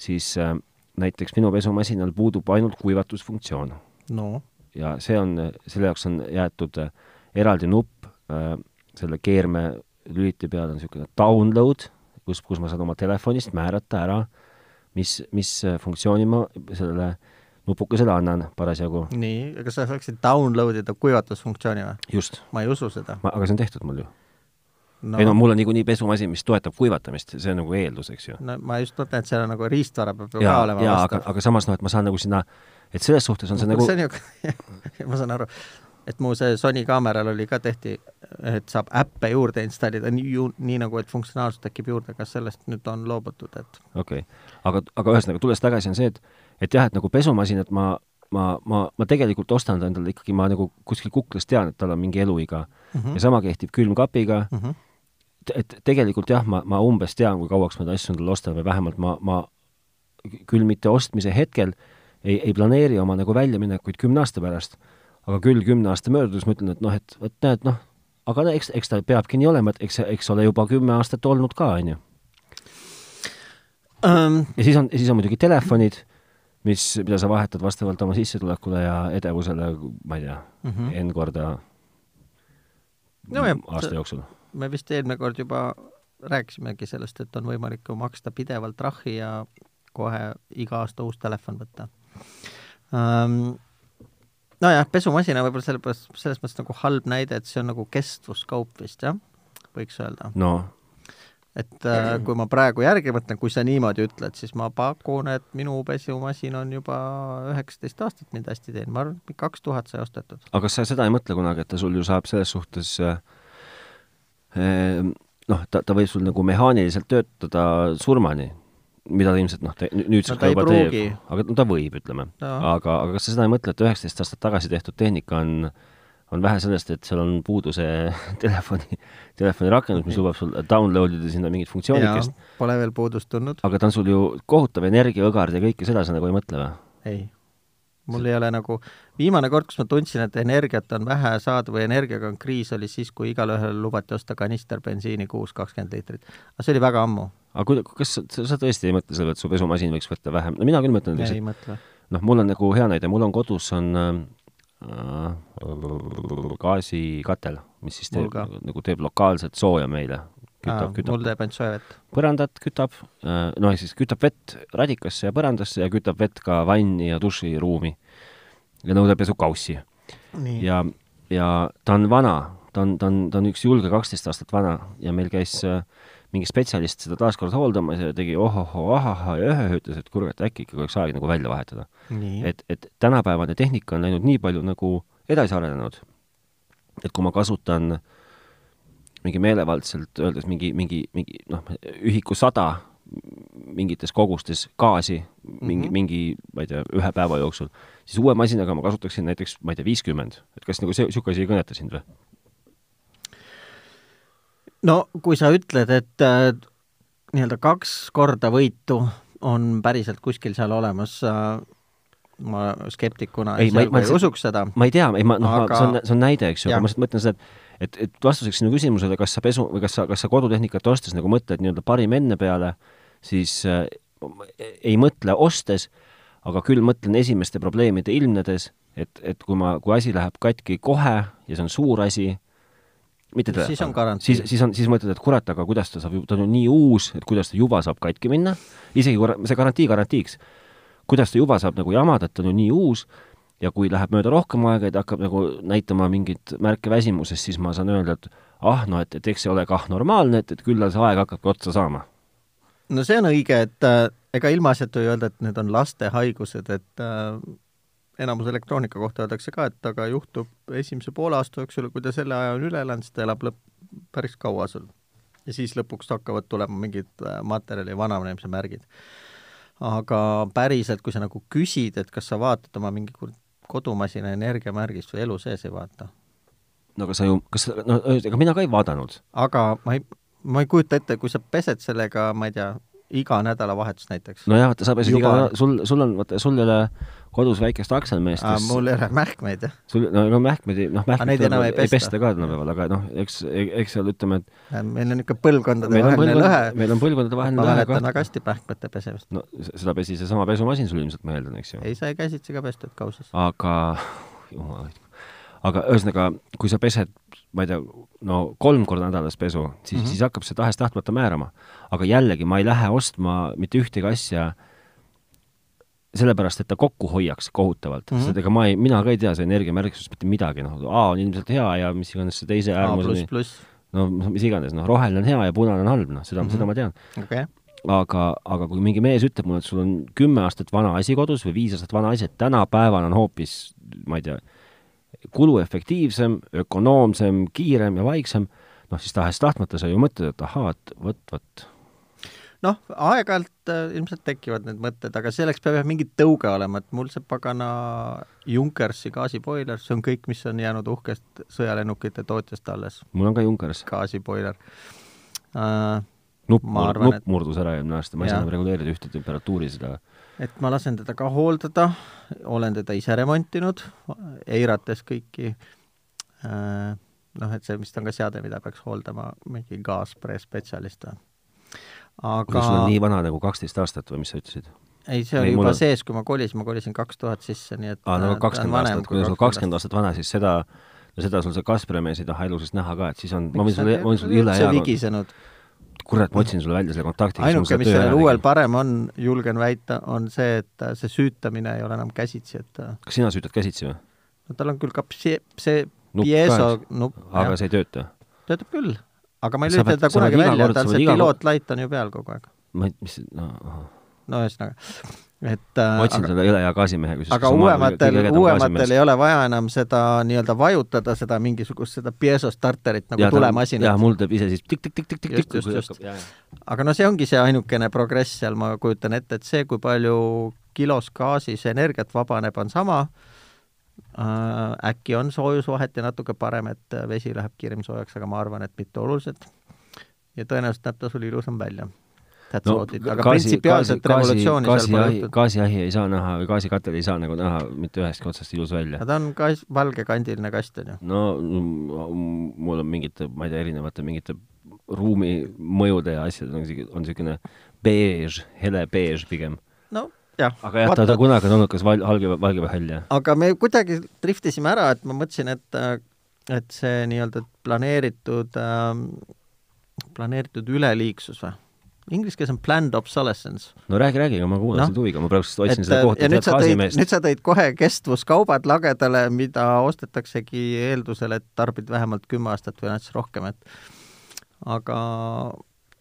siis äh, näiteks minu pesumasinal puudub ainult kuivatusfunktsioon no ja see on , selle jaoks on jäetud äh, eraldi nupp äh, selle keerme lüliti peal on niisugune download , kus , kus ma saan oma telefonist määrata ära , mis , mis äh, funktsiooni ma sellele nupukesele annan parasjagu . nii , aga sa saaksid download ida kuivatusfunktsiooni või ? just . ma ei usu seda ma , aga see on tehtud mul ju no. . no, ei no mul on niikuinii pesumasin , mis toetab kuivatamist , see on nagu eeldus , eks ju . no ma just mõtlen , et seal on nagu riistvara peab ju ka jaa , olema jaa , aga , vastav . aga samas noh , et ma saan nagu sinna , et selles suhtes on see nagu see on ju , *laughs* ma saan aru , et mu see Sony kaameral oli ka tehti , et saab äppe juurde installida , nii ju , nii nagu , et funktsionaalsus tekib juurde , kas sellest nüüd on loobutud , et okei okay. , aga , aga ühesõnaga , tulles tagasi , on see , et , et jah , et nagu pesumasinat ma , ma , ma , ma tegelikult ostan ta endale ikkagi , ma nagu kuskil kuklas tean , et tal on mingi eluiga mm . -hmm. ja sama kehtib külmkapiga mm , mm -hmm. -hmm. et tegelikult jah , ma , ma umbes tean , kui kauaks ma neid asju endale ostan või vähemalt ma , ma küll mitte ostmise hetkel ei , ei planeeri oma nagu väljaminekuid kümne aasta pärast , aga küll kümne aasta möödudes ma ütlen , et noh , et vot näed , noh , aga no eks , eks ta peabki nii olema , et eks , eks ole juba kümme aastat olnud ka , on ju um, ja siis on , siis on muidugi telefonid , mis , mida sa vahetad vastavalt oma sissetulekule ja edevusele , ma ei tea mm , -hmm. N korda Mhm. No jah, Mm, aasta see- jooksul . me vist eelmine kord juba rääkisimegi sellest , et on võimalik ju maksta pidevalt trahvi ja kohe iga aasta uus telefon võtta um, . nojah , pesumasina võib-olla sellepärast , selles mõttes nagu halb näide , et see on nagu kestvuskaup vist jah , võiks öelda . no et äh, kui ma praegu järgi mõtlen , kui sa niimoodi ütled , siis ma pakun , et minu pesumasin on juba üheksateist aastat mind hästi teinud , ma arvan , et kaks tuhat sai ostetud . aga kas sa seda ei mõtle kunagi , et ta sul ju saab selles suhtes äh, eh, noh , ta , ta võib sul nagu mehaaniliselt töötada surmani , mida ta ilmselt noh , No nüüdseks ta ka ei juba pruugi. teeb , aga no ta võib , ütleme . No. aga , aga kas sa seda ei mõtle , et üheksateist aastat tagasi tehtud tehnika on , on vähe sellest , et seal on puudu see *laughs* telefoni , telefonirakendus , mis lubab sul download ida sinna mingit funktsioonitest , Pole veel puudust tulnud . aga ta on sul ju kohutav energiaõgard ja kõike seda sa nagu ei mõtle või ? ei . mul ei ole nagu , viimane kord , kus ma tundsin , et energiat on vähe saada või energiaga on kriis , oli siis , kui igalühel lubati osta kanister bensiini kuus kakskümmend liitrit . aga see oli väga ammu . aga kuida- , kas sa, sa sa tõesti ei mõtle selle , et su pesumasin võiks võtta vähem , no mina küll mõtlen , ei et mõtle . noh , mul on nagu hea näide , mul on kodus on äh, gaasikatel , mis siis teeb Mul ka. , nagu teeb lokaalselt sooja meile . kütab , kütab mul teeb ainult soe vett . põrandat , kütab , noh , ehk siis kütab vett radikasse ja põrandasse ja kütab vett ka vanni ja duširuumi . ja nõudeb pesukaussi nii ja , ja ta on vana , ta on , ta on , ta on üks julge kaksteist aastat vana ja meil käis äh, mingi spetsialist seda taaskord hooldamas ja tegi ohohoo , ahahah ja öhö , ütles , et kurat , äkki ikka oleks aeg nagu välja vahetada . nii , et , et tänapäevane tehnika on läinud nii palju nagu edasi arenenud , et kui ma kasutan mingi meelevaldselt öeldes mingi , mingi , mingi noh , ühiku sada mingites kogustes gaasi mingi mm , -hmm. mingi , ma ei tea , ühe päeva jooksul , siis uue masinaga ma kasutaksin näiteks , ma ei tea , viiskümmend , et kas nagu see , niisugune asi ei kõneta sind või ? no kui sa ütled , et äh, nii-öelda kaks korda võitu on päriselt kuskil seal olemas äh, , ma skeptikuna Ei, ei, ma ei- ma ei lihtsalt- usuks seda , ma ei tea , ei ma , noh aga... , Aga- see on , see on näide , eks ju , Jah. aga ma lihtsalt mõtlen seda , et et , et vastuseks sinu küsimusele , kas sa pesu või kas sa , kas sa kodutehnikat ostes nagu mõtled nii-öelda parim enne peale , siis äh, ma- ei mõtle ostes , aga küll mõtlen esimeste probleemide ilmnedes , et , et kui ma , kui asi läheb katki kohe ja see on suur asi , mitte Siis telefon. on garantii. siis , siis on , siis mõtled , et kurat , aga kuidas ta saab , ta on ju nii uus , et kuidas ta juba saab katki minna , isegi korra- see garantii garantiiks kuidas ta juba saab nagu jamada , et ta on ju nii uus ja kui läheb mööda rohkem aega ja ta hakkab nagu näitama mingeid märke väsimusest , siis ma saan öelda , et ah noh , et , et eks see ole kah normaalne , et , et küll see aeg hakkabki otsa saama . no see on õige , et äh, ega ilmaasjata ei öelda , et need on laste haigused , et äh, enamus elektroonika kohta öeldakse ka , et aga juhtub esimese poole aasta jooksul , kui ta selle aja on üle elanud , siis ta elab lõpp , päris kaua sul . ja siis lõpuks hakkavad tulema mingid äh, materjali vananemise märgid . aga päriselt , kui sa nagu küsid , et kas sa vaatad oma mingi kur- kodumasina energiamärgist või elu sees ei vaata , no aga sa ju , kas , no ega mina ka ei vaadanud . aga ma ei , ma ei kujuta ette , kui sa pesed sellega , ma ei tea , iga nädalavahetus näiteks nojah , vaata sa pesid Juba. iga , sul , sul on , vaata sul ei ole kodus väikest aktsiameest , Aa, kes mul ei ole mähkmeid , jah . sul , no ega mähkmeid ei , noh , neid mähkmeid enam ei ei, ei pesta. pesta ka tänapäeval , aga noh , eks , eks seal ütleme , et Äh, meil on meil niisugune on põlvkondadevaheline lõhe põlvkond- , meil on põlvkondadevaheline ma lõhe mäletan väga hästi pähkmete pesemist . no s- seda pesi seesama pesumasin sul ilmselt , ma eeldan , eks ju . ei , sai käsitsi ka pestud kausas . aga , jumal hoidku , aga ühesõnaga , kui sa pesed , ma ei tea , no kolm korda nädalas pesu , siis mm , Mhm. -hmm. siis hakkab see tahes-tahtmata määrama . aga jällegi , ma ei lähe ostma mitte ühtegi asja sellepärast , et ta kokku hoiaks kohutavalt mm , Mhm. -hmm. sest ega ma ei , mina ka ei tea see energiamärgistusest mitte midagi , noh , A on ilmselt hea ja mis iganes see teise A äärmus on pluss , pluss . no mis iganes , noh , roheline on hea ja punane on halb , noh , seda Mhm. mm , -hmm. seda ma tean . okei . aga , aga kui mingi mees ütleb mulle , et sul on kümme aastat vana asi kodus või viis aastat vana asi , et tänapäeval on hoopis , ma ei tea , kuluefektiivsem , ökonoomsem , kiirem ja vaiksem , noh siis tahes-tahtmata sa ju mõtled , et ahaa , et vot , vot . noh , aeg-ajalt äh, ilmselt tekivad need mõtted , aga selleks peab jah mingi tõuge olema , et mul see pagana Junkersi gaasiboiler , see on kõik , mis on jäänud uhkest sõjalennukite tootjast alles , mul on ka Junkeris gaasiboiler äh, . nupp Ma , arvan, nupp murdus ära eelmine aasta , ma ei Jah. saa enam reguleerida ühte temperatuuri seda . et ma lasen teda ka hooldada , olen teda ise remontinud , eirates kõiki äh, noh , et see vist on ka seade , mida peaks hooldama mingi gaasprespetsialist või . aga kas sul on nii vana nagu kaksteist aastat või mis sa ütlesid ? ei , see ei, oli mul juba on- sees , kui ma kolisin , ma kolisin kaks tuhat sisse , nii et aa , no äh, ta on kakskümmend vanem aastat , kui kui sa oled 20 kakskümmend aastat vana , siis seda , no seda sul see Kasperi mees ei taha elu sees näha ka , et siis on , Miks ma võin nad sulle , ei ma võin ole sulle jõle üldse hea , vigisenud . kurat , ma otsin sulle välja selle kontakti . ainuke , mis sellel uuel parem on , julgen väita , on see , et äh, see süütamine ei ole enam käsitsi , et äh, kas sina süütad käsitsi või ? no tal on küll ka pse- , see Nupp pieso nupp , aga see ei tööta ? töötab küll , aga ma ei Sa lülita pead- teda sa kunagi pead iga välja kord- , tal sa see pead iga kord- pilootlait on ju peal kogu aeg . ma ei , mis , no ahah. no ühesõnaga , et äh, ma otsin aga, selle üle hea gaasimehe , kui aga uuematel , uuematel ei ole vaja enam seda nii-öelda vajutada , seda mingisugust , seda piesostarterit nagu jah , tulemasinat . mul teeb ise siis Just, just, just. tikk-tikk-tikk-tikk-tikk . aga no see ongi see ainukene progress seal , ma kujutan ette , et see , kui palju kilos gaasis energiat vabaneb , on sama äh, , äkki on soojusvaheti natuke parem , et äh, vesi läheb kiiremini soojaks , aga ma arvan , et mitte oluliselt . ja tõenäoliselt näeb ta sul ilusam välja . That's no, about it , aga printsipiaalset revolutsiooni seal pole gaasiahi , juhtunud . gaasiahi ei saa näha või gaasikatel ei saa nagu näha mitte ühestki otsast ilus välja aga . ta on ka valgekandiline kast , on ju . no mm, mul on mingite , ma ei tea , erinevate mingite ruumimõjude ja asjadega on siuke- on niisugune beež , hele beež pigem . no jah . aga jah , ta , ta kunagi on olnud kas val- , valge , valge või hall , jah . aga me kuidagi driftisime ära , et ma mõtlesin , et , et see nii-öelda planeeritud ähm, , planeeritud üleliigsus või ? Inglise keeles on planned obsolescence . no räägi , räägi , ma kuulasin Noh. no. huviga , ma praegu just otsin et seda äh, kohta , ja nüüd tead sa tõid , gaasimeest nüüd . sa tõid kohe kestvuskaubad lagedale , mida ostetaksegi eeldusel , et tarbid vähemalt kümme aastat või näiteks rohkem , et aga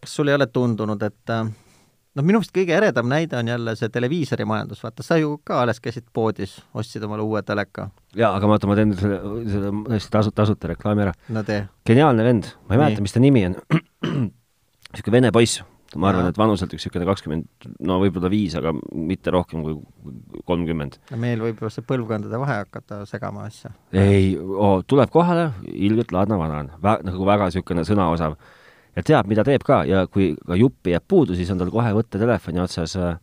kas sul ei ole tundunud , et äh, noh , minu meelest kõige eredam näide on jälle see televiisori majandus , vaata sa ju ka alles käisid poodis , ostsid omale uue teleka . jaa , aga vaata , ma teen nüüd selle , selle täiesti tasuta , tasuta reklaami ära . no tee geniaalne vend , ma ei Nii. mäleta , mis ta nimi on . *clears throat* niisugune vene poiss , ma arvan , Jaa. et vanuselt üks niisugune kakskümmend , no võib-olla viis , aga mitte rohkem kui kolmkümmend . no meil võib ju see põlvkondade vahe hakata segama asja . ei oh, , tuleb kohale , ilgelt ladna vana on , nagu väga niisugune sõnaosav ja teab , mida teeb ka ja kui ka juppi jääb puudu , siis on tal kohe võtta telefoni otsas äh,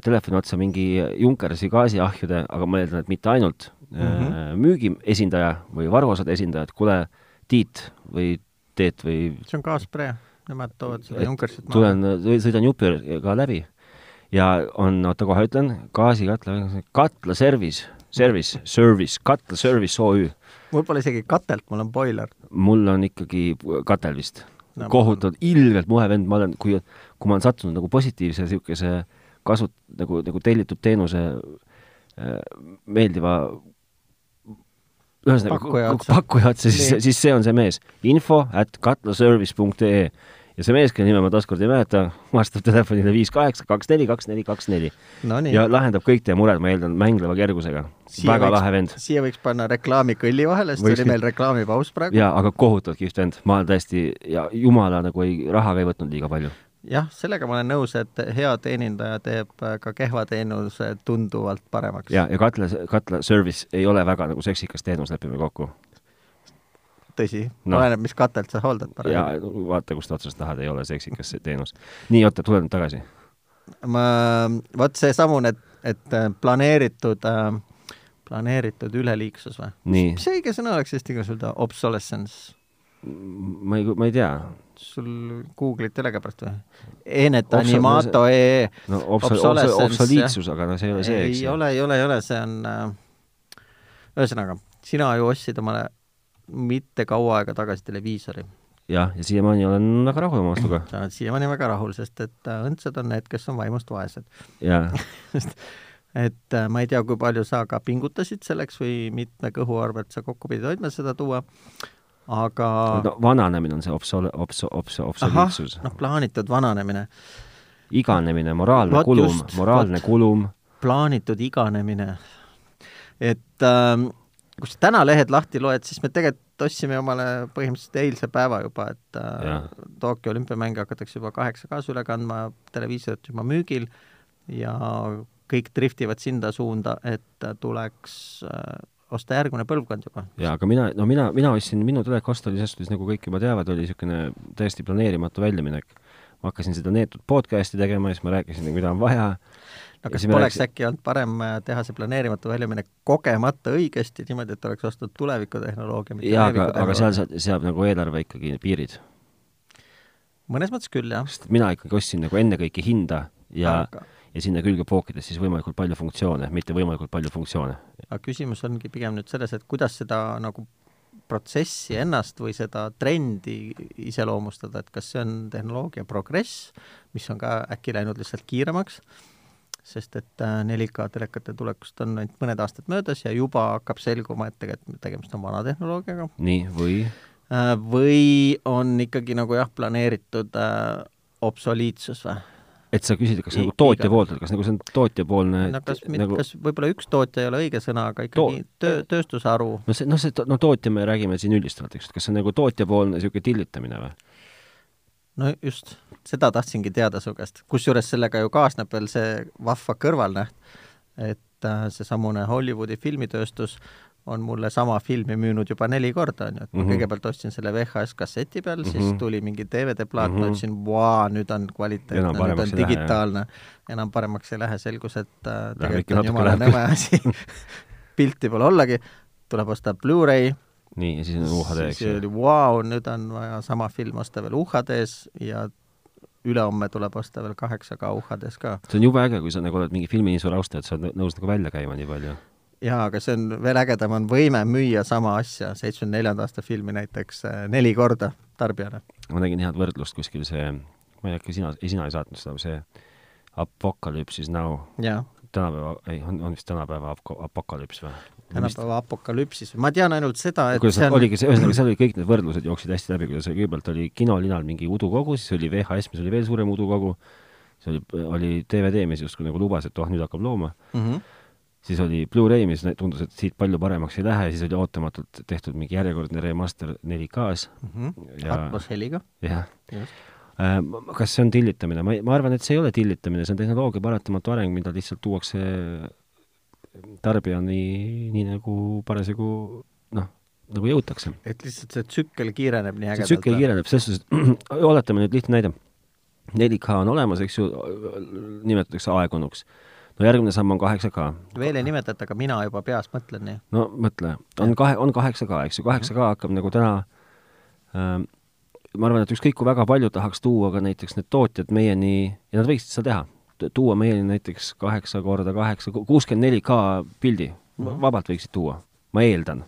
telefoni otsa mingi Junkersi gaasiahjude , aga ma eeldan , et mitte ainult mm , -hmm. müügi esindaja või varuosade esindaja , et kuule , Tiit või Teet või see on kaaspre , nemad toovad seda Et Junkersit maha . tulen , sõidan Jupiga läbi ja on , oota kohe ütlen , gaasikatla , katla service , service , service , katla service OÜ . mul pole isegi katelt , mul on boiler . mul on ikkagi katel vist No, no, , kohutavalt ilgelt muhe vend , ma olen , kui , kui ma olen sattunud nagu positiivse niisuguse kasut- , nagu , nagu tellitud teenuse äh, meeldiva Pakkuja ühesõnaga otsa. pakkuja otsa , siis Nii. , siis see on see mees . info at katlaservice.ee ja see mees , kelle nime ma taaskord ei mäleta , vastab telefonile viis kaheksa kaks neli kaks neli kaks neli Nonii ja , lahendab kõik teie mured , ma eeldan , mängleva kergusega . väga lahe vend . siia võiks panna reklaami kõlli vahele , sest Võiks oli küll. meil reklaamipaus praegu . jaa , aga kohutavalt kihvt vend , ma olen täiesti ja jumala nagu ei , rahaga ei võtnud liiga palju . jah , sellega ma olen nõus , et hea teenindaja teeb äh, ka kehva teenuse tunduvalt paremaks . ja , ja katla , katla service ei ole väga nagu seksikas teenus , lepime kokku . tõsi no. , Noh. oleneb , mis katelt sa hooldad ja paremini . vaata , kust otsast tahad , ei ole seksikas see teenus . nii , oota , tule nüüd tagasi . ma , vot seesamune , et äh, planeeritud äh, planeeritud üleliigsus või ? nii , mis see õige sõna oleks eesti keeles öelda , obsolescence ? ma ei , ma ei tea . sul Google'id telega pärast või ? Enetanimato.ee no obs- , Obsolescence, obsoliitsus , aga no see ei ole see , eks ei ju . ole , ei ole , ei ole , see on äh, ühesõnaga , sina ju ostsid omale mitte kaua aega tagasi televiisori . jah , ja siiamaani olen väga rahul oma ostuga . sa oled siiamaani väga rahul , sest et äh, õndsad on need , kes on vaimust vaesed . *laughs* jaa , sest et äh, ma ei tea , kui palju sa ka pingutasid selleks või mitme kõhuarvelt sa kokku pidid hoidma seda tuua , aga no vananemine on see obsole- , obs- , obs- , ahah obsoliitsus ,. noh , plaanitud vananemine , iganemine , moraalne Vot kulum just, , moraalne vot. kulum , plaanitud iganemine . et ähm, kui sa täna lehed lahti loed , siis me tegelikult ostsime omale põhimõtteliselt eilse päeva juba , et äh, Jah. Tokyo olümpiamänge hakatakse juba kaheksa kaasa üle kandma , televiisorid juba müügil ja kõik driftivad sinna suunda , et äh, tuleks äh, osta järgmine põlvkond juba . jaa , aga mina , no mina , mina ostsin , minu telekost oli selles suhtes , nagu kõik juba teavad , oli niisugune täiesti planeerimatu väljaminek . ma hakkasin seda neetud podcast'i tegema ja siis ma rääkisin , mida on vaja . no kas poleks äkki olnud parem äh, teha see planeerimatu väljaminek kogemata õigesti , niimoodi , et oleks ostnud tulevikutehnoloogia , mitte jaa , aga , aga seal tulevikutehnoloogia ? sa- seab nagu eelarve ikkagi piirid . mõnes mõttes küll , jah . sest mina ikkagi ostsin nagu ennekõike hinda ja Noh. Aga- ja sinna külge pookides siis võimalikult palju funktsioone , mitte võimalikult palju funktsioone . aga küsimus ongi pigem nüüd selles , et kuidas seda nagu protsessi ennast või seda trendi iseloomustada , et kas see on tehnoloogia progress , mis on ka äkki läinud lihtsalt kiiremaks , sest et äh, 4K telekate tulekust on ainult mõned aastad möödas ja juba hakkab selguma , et tegelikult tegemist on vana tehnoloogiaga nii , või Äh, või on ikkagi nagu jah , planeeritud äh, obsoliitsus või ? et sa küsid , kas I- nagu tootja iga- poolt , et kas nagu see on tootjapoolne no kas , nagu... nagu... kas võib-olla üks tootja ei ole õige sõna , aga ikkagi To- äh, töö , tööstusharu no see , noh , see , no tootja me räägime siin üldistavalt , eks , et kas see on nagu tootjapoolne niisugune tillitamine või ? no just , seda tahtsingi teada su käest , kusjuures sellega ju kaasneb veel see vahva kõrvalnäht , et äh, seesamune Hollywoodi filmitööstus on mulle sama filmi müünud juba neli korda , on ju , et ma mm Mhm. -hmm. kõigepealt ostsin selle VHS kasseti peal mm , -hmm. Mhm. siis tuli mingi DVD-plaat mm , Mhm. -hmm. ma ütlesin , vau , nüüd on kvaliteetne , Enam nüüd paremaks on ei lähe, jah. digitaalne , enam paremaks ei lähe , selgus , et äh, ikka tegelikult on natuke jumala läheb. nõme asi , *laughs* pilti pole ollagi , tuleb osta Blu-ray nii , ja siis on UHD , eks siis ju . oli vau , nüüd on vaja sama film osta veel UHD-s ja ülehomme tuleb osta veel kaheksa kauhades ka. see on jube äge, kui sa nagu oled mingi filminiisule austaja, et sa oled nõus nagu välja käima nii palju. jaa, aga see on veel ägedam, on võime müüa sama asja, seitsmekümne neljanda aasta filmi näiteks äh, neli korda tarbijale. ma nägin head võrdlust kuskil see , ma ei hakka sina , ei sina ei saatnud seda , see Apocalypse is now , jaa, tänapäeva , ei , on , on vist tänapäeva ap- apokalüps või ? tänapäeva apokalüpsis , ma tean ainult seda , et kuidas see nad on oligi , ühesõnaga seal olid kõik need võrdlused jooksid hästi läbi , kuidas kõigepealt oli kinolinal mingi udukogu , siis oli VHS , mis oli veel suurem udukogu , siis oli , oli DVD , mis justkui nagu lubas , et oh , nüüd hakkab looma , mm -hmm. siis oli Blu-ray , mis näit- tundus , et siit palju paremaks ei lähe , siis oli ootamatult tehtud mingi järjekordne remaster 4K-s Mm -hmm. Ja- atmosheliga , jah . just . kas see on tillitamine ? ma ei , ma arvan , et see ei ole tillitamine , see on tehnoloogia paratamatu areng , mida lihtsalt tuuakse tarbijani nii nagu parasjagu noh , nagu jõutakse . et lihtsalt see tsükkel kiireneb nii see ägedalt . tsükkel . kiireneb , selles suhtes , *clears throat* et oletame nüüd lihtne näide . 4K on olemas , eks ju , nimetatakse aegunuks . no järgmine samm on 8K . veel ei nimetata , aga mina juba peas mõtlen nii . no mõtle , on kahe , on 8K , eks ju , 8K hakkab nagu täna ähm, ma arvan , et ükskõik kui väga palju tahaks tuua ka näiteks need tootjad meieni ja nad võiksid seda teha , tuua meieni näiteks kaheksa korda kaheksa , kuuskümmend neli K pildi Va- vabalt võiksid tuua , ma eeldan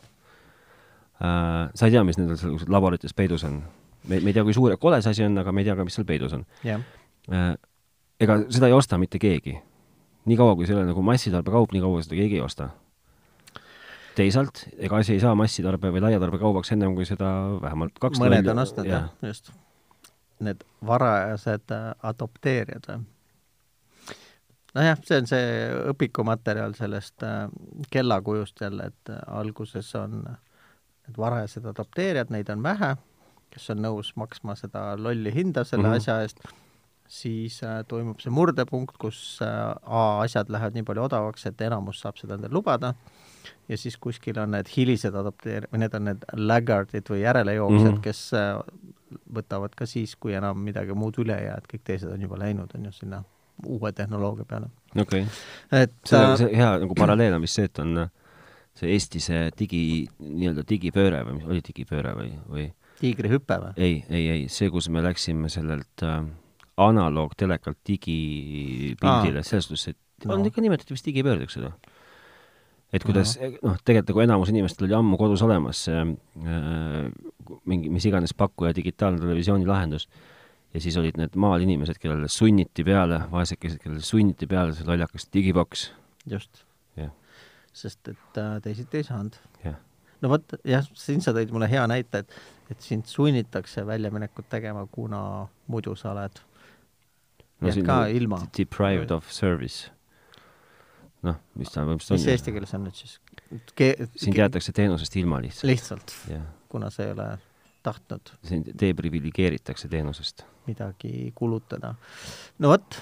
äh, . sa ei tea , mis nendel seal kuskil laborites peidus on ? me , me ei tea , kui suur ja kole see asi on , aga me ei tea ka , mis seal peidus on jah , äh, . ega seda ei osta mitte keegi . niikaua , kui see ei ole nagu massitarbekaup , nii kaua seda keegi ei osta . teisalt , ega asi ei saa massitarbe või laiatarbekaubaks ennem , kui seda vähemalt kaks mõned lolli- on ostnud , jah. jah , just . Need varajased äh, adopteerijad või ? nojah , see on see õpikumaterjal sellest äh, kellakujust jälle , et äh, alguses on äh, need varajased adopteerijad , neid on vähe , kes on nõus maksma seda lolli hinda selle Mhm. mm -hmm. asja eest , siis äh, toimub see murdepunkt , kus äh, A asjad lähevad nii palju odavaks , et enamus saab seda endale lubada ja siis kuskil on need hilised adopteer- , või need on need laggard'id või järelejooksjad Mhm. mm , -hmm. kes äh, võtavad ka siis , kui enam midagi muud üle ei jää , et kõik teised on juba läinud , on ju , sinna uue tehnoloogia peale . okei okay. , et see on äh, see hea nagu paralleel on vist see , et on äh, see Eesti see digi , nii-öelda digipööre või mis oli digipööre või , või tiigrihüpe või ? ei , ei , ei , see , kus me läksime sellelt äh, analoogtelekalt digipildile , selles suhtes , et on No. ikka nimetati vist digipöördeks seda . et kuidas noh , tegelikult nagu enamus inimestel oli ammu kodus olemas see äh, mingi , mis iganes pakkuja digitaalne televisiooni lahendus ja siis olid need maal inimesed , kellele sunniti peale , vaesekesed , kellele sunniti peale see lollakas digiboks , just , jah , sest et äh, teisiti ei saanud . jah no vot , jah , siin sa tõid mulle hea näite , et , et sind sunnitakse väljaminekut tegema , kuna muidu sa oled Jääd siin ka on ilma. de- Deprived of service . noh , mis ta mis see põhimõtteliselt eesti on . keeles on nüüd siis Ke ? sind jäetakse teenusest ilma lihtsalt . lihtsalt , jah , kuna sa ei ole tahtnud sind deprivilegeeritakse teenusest . midagi kulutada . no vot ,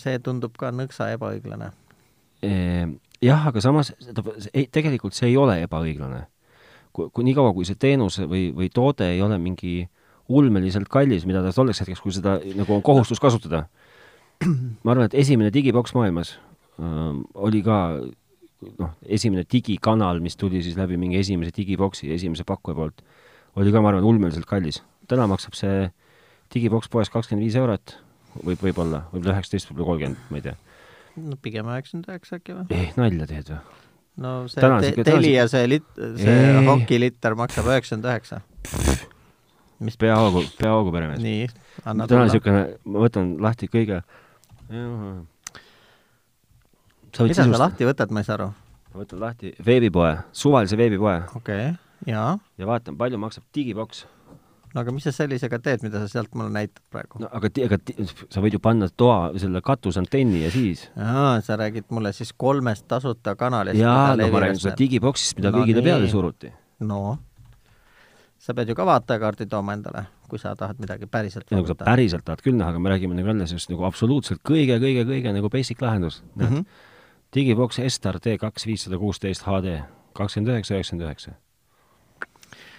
see tundub ka nõksa ebaõiglane . Ehm, jah , aga samas , ei , tegelikult see ei ole ebaõiglane . kui , kui niikaua , kui see teenus või , või toode ei ole mingi ulmeliselt kallis , mida ta tolleks hetkeks , kui seda nagu on kohustus kasutada . ma arvan , et esimene digiboks maailmas öö, oli ka noh , esimene digikanal , mis tuli siis läbi mingi esimese digiboksi , esimese pakkuja poolt , oli ka , ma arvan , ulmeliselt kallis . täna maksab see digiboks poes kakskümmend viis eurot , võib , võib-olla , võib-olla üheksateist , võib-olla kolmkümmend , ma ei tea . no pigem üheksakümmend üheksa äkki või ? ei , nalja teed või ? no see Täna on te sihuke- täna on Telia see lit- , see Ei. hokilitter maksab üheksakümmend üheksa . mis pe- ? peahoogu , peahoogu peremees . nii , anna täna on tulla . niisugune , ma võtan lahti kõige . sa võid mida sa sisust- , lahti võtad , ma ei saa aru . ma võtan lahti veebipoe , suvalise veebipoe okei okay. , jaa . ja vaatan , palju maksab digiboks . no aga mis sa sellisega teed , mida sa sealt mulle näitad praegu no. ? no aga , aga ti- sa võid ju panna toa selle katusantenni ja siis . aa , sa räägid mulle siis kolmest tasuta kanalist . jaa , no ma räägin sulle . digiboksist , mida No kõigile nii. peale suruti . no sa pead ju ka vaatajakaardi tooma endale , kui sa tahad midagi päriselt ja nagu sa vaadata . päriselt tahad küll näha , aga me räägime nagu jälle sellest nagu absoluutselt kõige-kõige-kõige nagu basic lahendus . Mhm. digiboks Estar D kaks viissada kuusteist HD kakskümmend üheksa , üheksakümmend üheksa .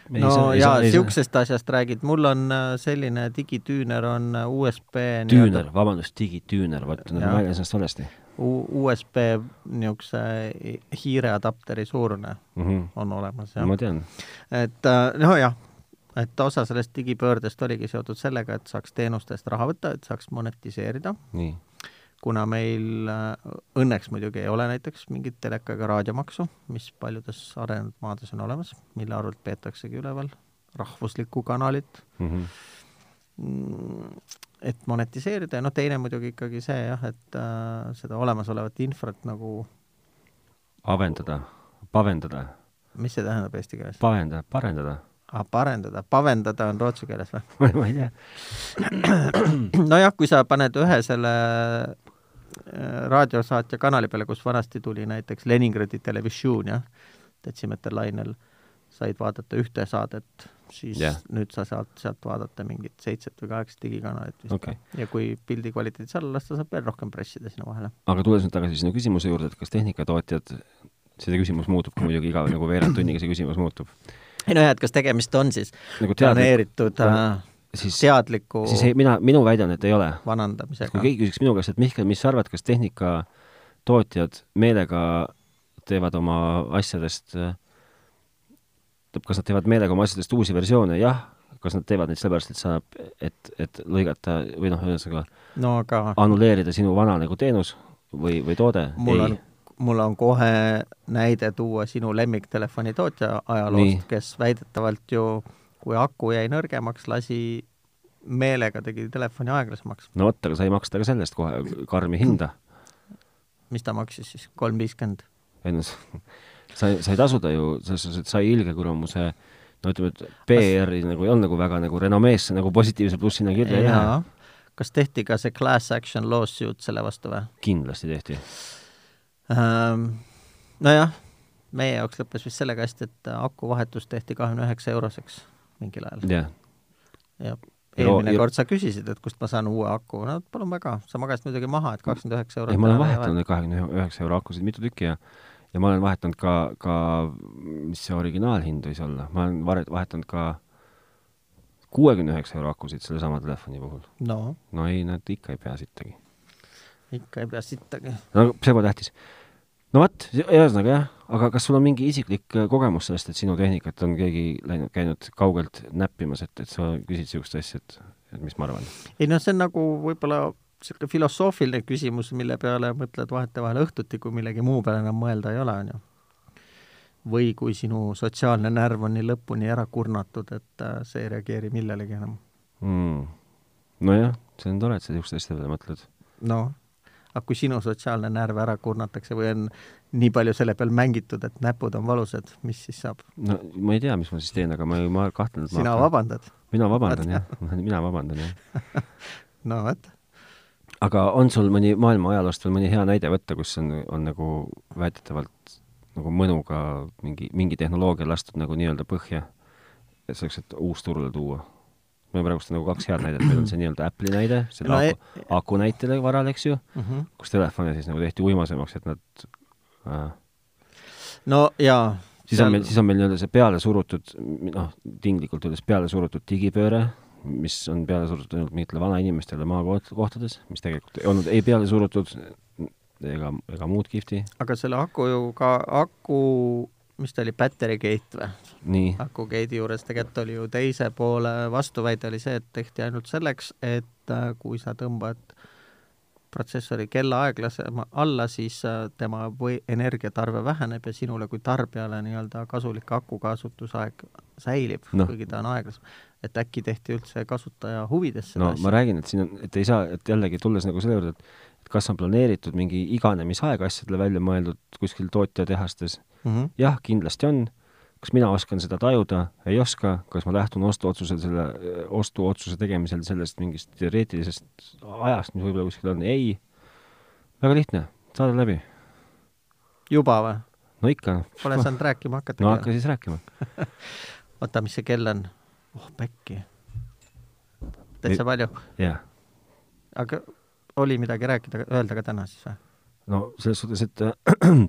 no jaa , siuksest asjast räägid , mul on äh, selline digitüüner on äh, USB tüüner , vabandust , digitüüner , vaata , nagu Jaa. ma väljendan ennast valesti U- USB niisuguse e, hiireadapteri suurune mm . -hmm. on olemas , ma jah . tean , et äh, nojah , et osa sellest digipöördest oligi seotud sellega, et saaks teenustest raha võtta, et saaks monetiseerida, nii , kuna meil äh, õnneks muidugi ei ole näiteks mingit teleka- ega raadiomaksu, mis paljudes arenenud maades on olemas, mille arvelt peetaksegi üleval rahvuslikku kanalit Mhm. mm, et monetiseerida ja noh, teine muidugi ikkagi see jah, et äh, seda olemasolevat infrat nagu , avendada , pavendada , mis see tähendab eesti keeles pavendada , parendada , *laughs* ah, ? parendada , pavendada on rootsi keeles või ? ma ei tea , *clears throat* nojah , kui sa paned ühe selle äh, raadiosaatja kanali peale , kus vanasti tuli näiteks Leningradi televisioon , jah , detsimeeter lainel , said vaadata ühte saadet , siis Jah. yeah. nüüd sa saad sealt vaadata mingit seitset või kaheksat digikanalit vist Okei. okay. . ja kui pildi kvaliteedis alla lasta , saab veel rohkem pressida sinna vahele . aga tulles nüüd tagasi sinu küsimuse juurde , et kas tehnikatootjad , see küsimus muutub ka muidugi iga nagu veerand tunniga see küsimus muutub . ei no jah , et kas tegemist on siis nagu teadlik , planeeritud äh, siis , teadliku siis ei, mina , minu väidan , et ei ole kui vanandamisega . keegi küsiks minu käest , et Mihkel , mis sa arvad , kas tehnikatootjad meelega teevad oma asjadest , kas nad teevad meelega oma asjadest uusi versioone , jah , kas nad teevad neid sellepärast , et saab , et , et lõigata või noh , ühesõnaga no aga annuleerida sinu vana nagu teenus või , või toode ? mul on , mul on kohe näide tuua sinu lemmiktelefoni tootja Nii. ajaloost , kes väidetavalt ju , kui aku jäi nõrgemaks , lasi meelega tegi telefoni aeglasemaks . no vot , aga sa ei maksta ka selle eest kohe karmi hinda . mis ta maksis siis , kolm viiskümmend ? ei noh , sa ei , sa ei tasuda ju , selles suhtes , et sa ei ilge kuramuse no ütleme , et PR-i nagu ei olnud nagu väga nagu renomeesse nagu positiivse plussina kirja ei lähe . kas tehti ka see class action lawsuit selle vastu või kindlasti tehti ähm, ? nojah , meie jaoks lõppes vist sellega hästi , et akuvahetus tehti kahekümne üheksa euroseks mingil ajal . jah , ja Ja- eelmine ja- ja, kord sa küsisid , et kust ma saan uue aku , no palun väga , sa magasid muidugi maha , et kakskümmend üheksa eurot . ei ma olen vahetanud neid kahekümne üheksa euro akusid mitu tükki ja ja ma olen vahetanud ka , ka , mis see originaalhind võis olla , ma olen var- , vahetanud ka kuuekümne üheksa euro akusid sellesama telefoni puhul . no no ei , nad ikka ei pea sittagi . ikka ei pea sittagi . no aga see pole tähtis . no vot , ühesõnaga jah , aga kas sul on mingi isiklik äh, kogemus sellest , et sinu tehnikat on keegi läinud , käinud kaugelt näppimas , et , et sa küsid niisugust asja , et , et mis ma arvan ? ei no see on nagu võib-olla niisugune filosoofiline küsimus , mille peale mõtled vahetevahel õhtuti , kui millegi muu peale enam mõelda ei ole , on ju . või kui sinu sotsiaalne närv on nii lõpuni ära kurnatud , et äh, see ei reageeri millelegi enam . mm. . nojah , see on tore , et sa niisuguste asjade peale mõtled . noh , aga kui sinu sotsiaalne närv ära kurnatakse või on nii palju selle peal mängitud , et näpud on valusad , mis siis saab ? no ma ei tea , mis ma siis teen , aga ma , ma kahtlen , et ma sina vabandad ? mina vabandan jah , *laughs* mina vabandan jah . no vot , aga on sul mõni maailma ajaloost veel mõni hea näide võtta , kus on , on nagu väidetavalt nagu mõnuga mingi , mingi tehnoloogia lastud nagu nii-öelda põhja , selleks , et uus turule tuua ? meil on praegust nagu kaks head näidet , meil on see nii-öelda Apple'i näide , selle No e- no, ei- aku , aku näitele varal , eks ju , mm . -hmm. kus telefone siis nagu tehti uimasemaks , et nad äh, no jaa . siis on meil , siis on meil nii-öelda see peale surutud , noh , tinglikult öeldes peale surutud digipööre , mis on peale surutud ainult mingitele vanainimestele maakohtades , mis tegelikult ei olnud ei peale surutud ega , ega muud kihvti . aga selle aku ju ka , aku , mis ta oli , battery gate või ? nii , aku gate'i juures tegelikult oli ju teise poole vastuväide oli see , et tehti ainult selleks , et äh, kui sa tõmbad protsessori kella aeglasema alla , siis äh, tema või energiatarve väheneb ja sinule kui tarbijale nii-öelda kasulik aku kasutusaeg säilib Noh. no. , kuigi ta on aeglasem . et äkki tehti üldse kasutaja huvides seda no ma räägin , et siin on , et ei saa , et jällegi tulles nagu selle juurde , et et kas on planeeritud mingi iganemisaeg asjadele välja mõeldud kuskil tootjatehastes , mm . -hmm. jah , kindlasti on , kas mina oskan seda tajuda , ei oska , kas ma lähtun ostuotsusel selle , ostuotsuse tegemisel sellest mingist teoreetilisest ajast , mis võib-olla kuskil on , ei . väga lihtne , saade läbi . juba või ? no ikka , Pole saanud rääkima hakata no hakka siis rääkima . oota , mis see kell on ? oh pekki . täitsa palju , jah , aga oli midagi rääkida , öelda ka täna siis või ? no selles suhtes , et *clears throat* äh,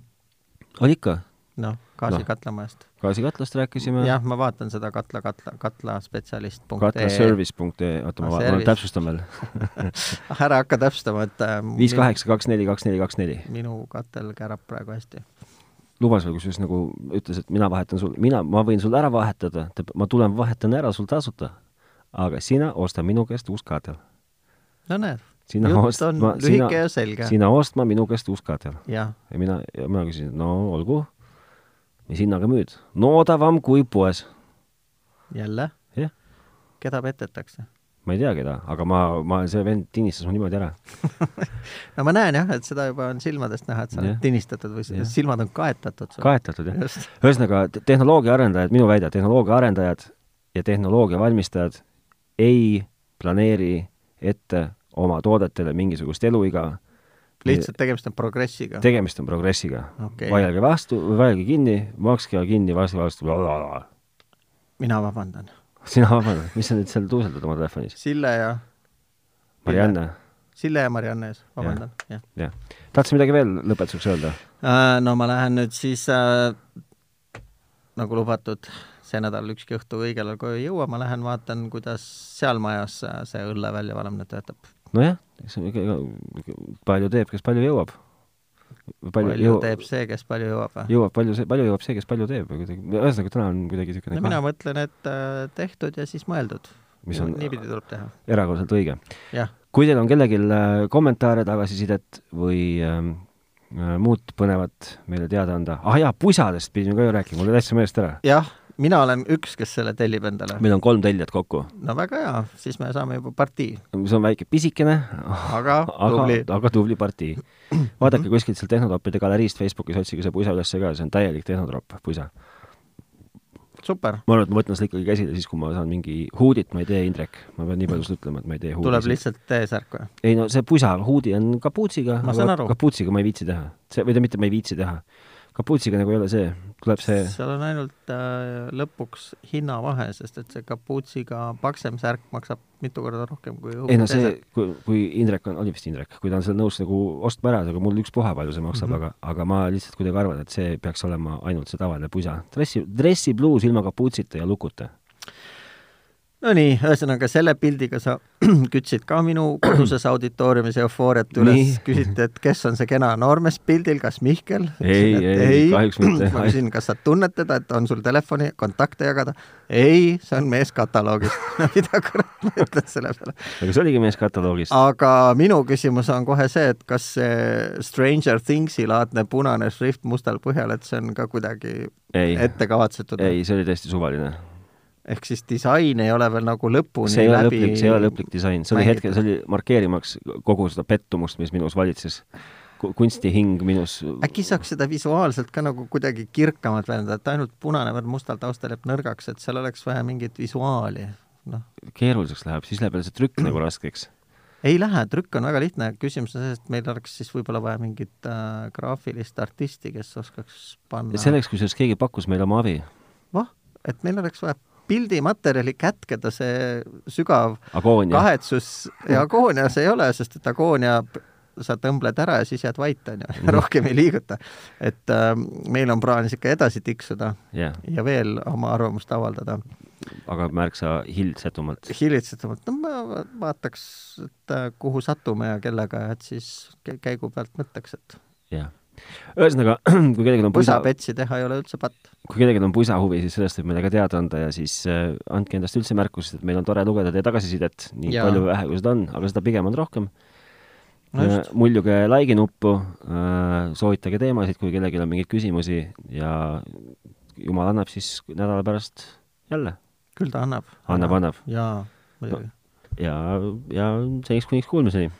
oli ikka , noh , Noh. gaasikatlamaast gaasikatlast rääkisime no. .. jah , ma vaatan seda katla , katla , katlaspetsialist.ee . katlaservice.ee , oota , Ah, ma, ma service. täpsustan veel . *laughs* ära hakka täpsustama , et äh, viis kaheksa , kaks neli , kaks neli , kaks neli . minu katel kärab praegu hästi . lubas veel kusjuures nagu, ütles, et mina vahetan sul, mina, ma võin sul ära vahetada, ma tulen vahetan ära sul tasuta. aga sina osta minu käest uus katel. no näed, sina Jutt ostma on lühike ja selge. sina ostma minu käest uus katel. jah, ja mina , ja mina küsisin , et no olgu , mis hinnaga müüd ? no odavam kui poes . jälle , jah , keda petetakse ma ei tea , keda , aga ma , ma , see vend tinistas mu niimoodi ära . no ma näen jah , et seda juba on silmadest näha , et sa oled Jah. tinistatud või Jah. yeah. silmad on kaetatud sul . kaetatud , jah . just , ühesõnaga , tehnoloogia arendajad , minu väide , tehnoloogia arendajad ja tehnoloogia valmistajad ei planeeri ette oma toodetele mingisugust eluiga . lihtsalt tegemist on progressiga . tegemist on progressiga Okei. okay. . vaielge vastu , vaielge kinni , makske kinni , vastu , vastu . mina vabandan . sina vabandad , mis sa nüüd seal tuuseldad oma telefonis ? Sille ja , Marianne , Sille ja Marianne ees , vabandan , jah . jah . tahtsid midagi veel lõpetuseks öelda ? Äh, no ma lähen nüüd siis äh, nagu lubatud , see nädal ükski õhtu õigel ajal koju ei jõua , ma lähen vaatan , kuidas seal majas äh, see õlle väljavalamine töötab . nojah , eks see ikka- ikka- palju teeb , kes palju jõuab . palju jõu... teeb see , kes palju jõuab või ? jõuab palju see , palju jõuab see , kes palju teeb või kuidagi , ühesõnaga täna on kuidagi niisugune no mina mõtlen , et äh, tehtud ja siis mõeldud . Mis on- niipidi tuleb teha , erakordselt õige . jah kui teil on kellelgi äh, kommentaare , tagasisidet või ähm, äh, muud põnevat meile teada anda , ah jaa , pusadest pidime ka ju rääkima , mul oli täitsa meelest ära . jah , mina olen üks , kes selle tellib endale . meil on kolm tellijat kokku , no väga hea , siis me saame juba partii , see on väike pisikene , aga aga tubli , aga tubli *clears throat* partii . vaadake kuskilt sealt Tehnotroppide galeriist Facebookis , otsige see pusa üles ka , see on täielik tehnotropp , pusa . super , ma arvan , et ma võtan selle ikkagi käsile siis , kui ma saan mingi huudit , ma ei tee , Indrek , ma pean nii palju sulle ütlema , et ma ei tee tuleb huudisid . lihtsalt T-särk või ? ei no see pusa huudi on kapuutsiga , Ma saan aru. kapuutsiga ma ei viitsi teha , see või ta mitte , ma ei viitsi teha . kapuutsiga nagu ei ole see , tuleb see seal on ainult äh, lõpuks hinnavahe , sest et see kapuutsiga paksem särk maksab mitu korda rohkem kui ei no see , kui , kui Indrek on , oli vist Indrek , kui ta on seal nõus nagu ostma ära , aga mul ükspuha , palju see Mhm. maksab mm , -hmm. aga , aga ma lihtsalt kuidagi arvan , et see peaks olema ainult see tavaline pusa . dressi , dressipluus ilma kapuutsita ja lukuta . Nonii , ühesõnaga selle pildiga sa *clears throat* kütsid ka minu koduses auditooriumis eufooriat üles Nii. , küsiti , et kes on see kena noormees pildil , kas Mihkel ? Ei, ei, kahjuks mitte. ma küsin , kas sa tunned teda , et on sul telefoni kontakte jagada ? ei , see on mees *laughs* kataloogist . mida kurat ma ütlen selle peale ? aga see oligi mees kataloogist . aga minu küsimus on kohe see , et kas see Stranger Thingsi laadne punane šrift mustal põhjal , et see on ka kuidagi ei , ette kavatsetud ? ei , see oli täiesti suvaline . ehk siis disain ei ole veel nagu lõpuni see ei ole läbi lõplik , see ei ole lõplik disain , see oli mängitud. hetkel , see oli markeerimaks kogu seda pettumust , mis minus valitses . kunstihing minus äkki saaks seda visuaalselt ka nagu kuidagi kirkamalt väljendada , et ainult punane värv mustal taustal jääb nõrgaks , et seal oleks vaja mingit visuaali . noh , keeruliseks läheb , siis läheb jälle see *clears throat* trükk nagu raskeks . ei lähe , trükk on väga lihtne , küsimus on selles , et meil oleks siis võib-olla vaja mingit äh, graafilist artisti , kes oskaks panna . selleks , kusjuures keegi pakkus meile oma abi , vah , Noh, et meil oleks vaja pildimaterjali kätkeda see sügav agoonia . Mm. kahetsus ja agoonia see ei ole , sest et agoonia p- sa tõmbled ära ja siis jääd vait , on Mm. ju , rohkem ei liiguta . et äh, meil on plaanis ikka edasi tiksuda jah , ja veel oma arvamust avaldada aga märksa hildsetumalt . *clears throat* hillitsetumalt , no ma va- vaataks , et äh, kuhu satume ja kellega , et siis kä- käigu pealt mõtleks , et jah . ühesõnaga , *clears throat* kui kellelgi on pusa , pusapetsi teha ei ole üldse patt . kui kellelgi on pusa huvi , siis sellest võib meile ka teada anda ja siis äh, andke endast üldse märku , sest et meil on tore lugeda teie tagasisidet , nii Jaa. ja. palju või vähe , kui seda on , aga seda pigem on rohkem Äh, no just , muljuge like'i nuppu , soovitage teemasid , kui kellelgi on mingeid küsimusi ja jumal annab , siis nädala pärast jälle küll ta annab . annab , annab jaa , muidugi . ja , ja seniks kuniks kuulmiseni ,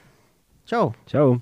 tšau . tšau .